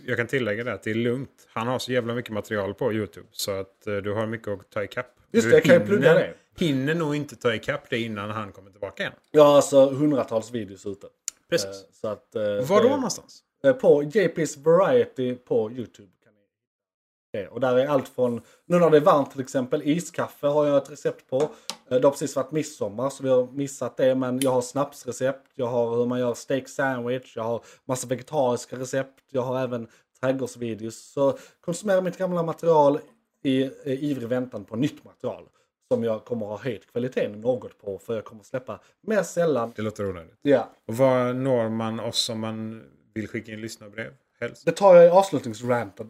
jag kan tillägga det att det är lugnt. Han har så jävla mycket material på Youtube. Så att eh, du har mycket att ta ikapp.
Just
Du
det, jag kan ju plugga
hinner-
det.
Hinner nog inte ta ikapp det innan han kommer tillbaka igen.
Jag har alltså hundratals videos ute. Eh,
Precis.
Så att, eh,
Var då
det-
någonstans?
Eh, På JP's Variety på Youtube. Kan ni se. Och där är allt från, nu när det är varmt till exempel, iskaffe har jag ett recept på. Eh, Det har precis varit midsommar så vi har missat det. Men jag har snapsrecept, jag har hur man gör steak sandwich, jag har massa vegetariska recept, jag har även trädgårdsvideos. Så konsumera mitt gamla material i eh, ivrig väntan på nytt material. Som jag kommer ha höjt kvaliteten något på för jag kommer släppa mer sällan.
Det låter onödigt.
Ja,
Och var når man oss om man vill skicka in lyssnarbrev? Helst.
det tar jag i avslutningsranten.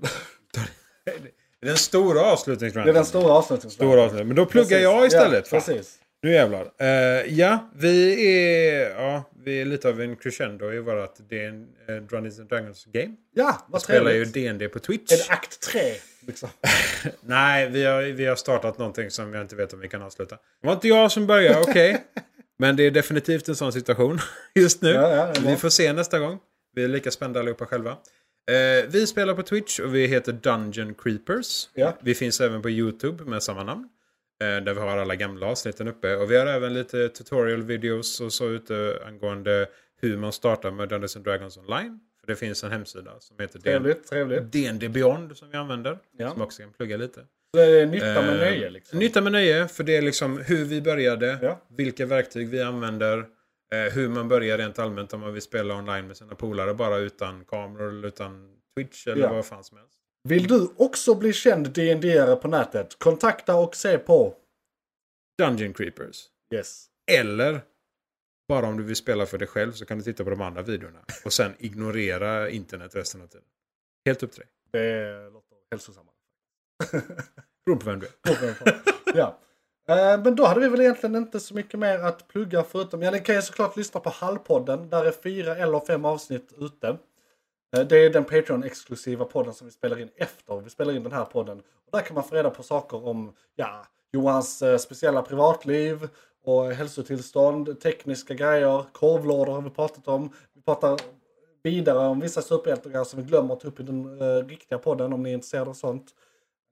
Det är den stora
Det är
avslutningsranten.
den stora avslutningsfrågan.
Stora avsnitt. Men då pluggar jag istället.
Ja,
fan.
precis.
Nu jävlar. Eh, ja, vi är, ja, vi är lite av en crescendo i vårt DN, eh, Dungeons and Dragons game.
Ja, vad
Spelar ju
trevligt.
D&D på
Är
Twitch.
det akt tre? Liksom?
Nej, vi har, vi har startat någonting som jag inte vet om vi kan avsluta. Det var inte jag som började, okej. Men det är definitivt en sån situation just nu.
Ja, ja, det är bra.
vi får se nästa gång. Vi är lika spända allihopa själva. Eh, vi spelar på Twitch och vi heter Dungeon Creepers.
Ja.
Vi finns även på YouTube med samma namn. Eh, där vi har alla gamla avsnitten uppe. Och vi har även lite tutorial videos och så ute angående hur man startar med Dungeons and Dragons online. För det finns en hemsida som heter
Trevligt, trevligt.
D&D Beyond som vi använder.
Ja.
Som också kan plugga lite.
Det är nytta med
Eh,
nöje liksom.
Nytta med nöje, för det är liksom hur vi började,
Ja.
vilka verktyg vi använder, eh, hur man börjar rent allmänt om man vill spela online med sina polare bara utan kameror eller utan Twitch eller
Ja.
vad fan som helst.
Vill du också bli känd D&D-are på nätet? Kontakta och se på.
Dungeon Creepers.
Yes.
Eller bara om du vill spela för dig själv så kan du titta på de andra videorna och sen ignorera internet resten av tiden. Helt upp till dig.
Det låter hälsosammare.
Beror på vem du är.
ja. Eh, Men då hade vi väl egentligen inte så mycket mer att plugga förutom, ja ni kan ju såklart lyssna på Hallpodden. Där är fyra eller fem avsnitt ute. Eh, Det är den Patreon-exklusiva podden som vi spelar in efter. Vi spelar in den här podden. Och där kan man få reda på saker om ja, Johans eh, speciella privatliv och hälsotillstånd, tekniska grejer, korvlådor har vi pratat om. Vi pratar vidare om vissa superhjältar som vi glömmer att ta upp i den eh, riktiga podden om ni är intresserade av sånt.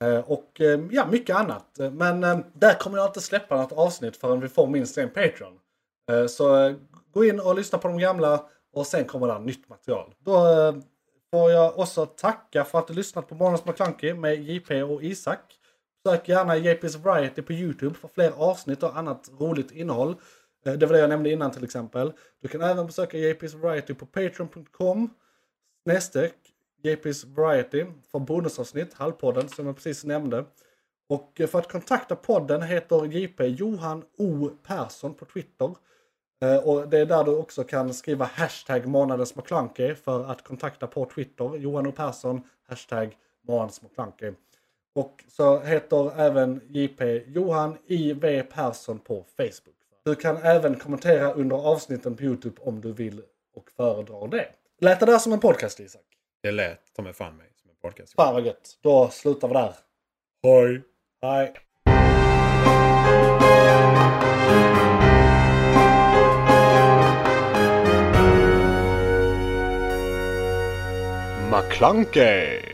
Eh, Och eh, ja, mycket annat. Eh, Men eh, där kommer jag inte släppa något avsnitt förrän vi får minst en Patreon. Eh, Så eh, gå in och lyssna på de gamla och sen kommer det nytt material. Då eh, får jag också tacka för att du lyssnat på Morgonens McKlunky med JP och Isak. Sök gärna JP's Variety på Youtube för fler avsnitt och annat roligt innehåll. Eh, Det var det jag nämnde innan till exempel. Du kan även besöka JP's Variety på Patreon.com snedstreck JP's Variety för bonusavsnitt, Halvpodden, som jag precis nämnde. Och eh, för att kontakta podden heter JP Johan O Persson på Twitter. Eh, Och det är där du också kan skriva hashtag månadens McKlunky för att kontakta på Twitter. Johan O Persson, hashtag månadens McKlunky. Och så heter även JP Johan IV Persson på Facebook. Du kan även kommentera under avsnitten på Youtube om du vill och föredrar det. Lät det där som en podcast Isak?
Det lät ta mig fan mig som en podcast.
Fan vad gött. Då slutar vi där.
Hej!
Hej.
McClunkey!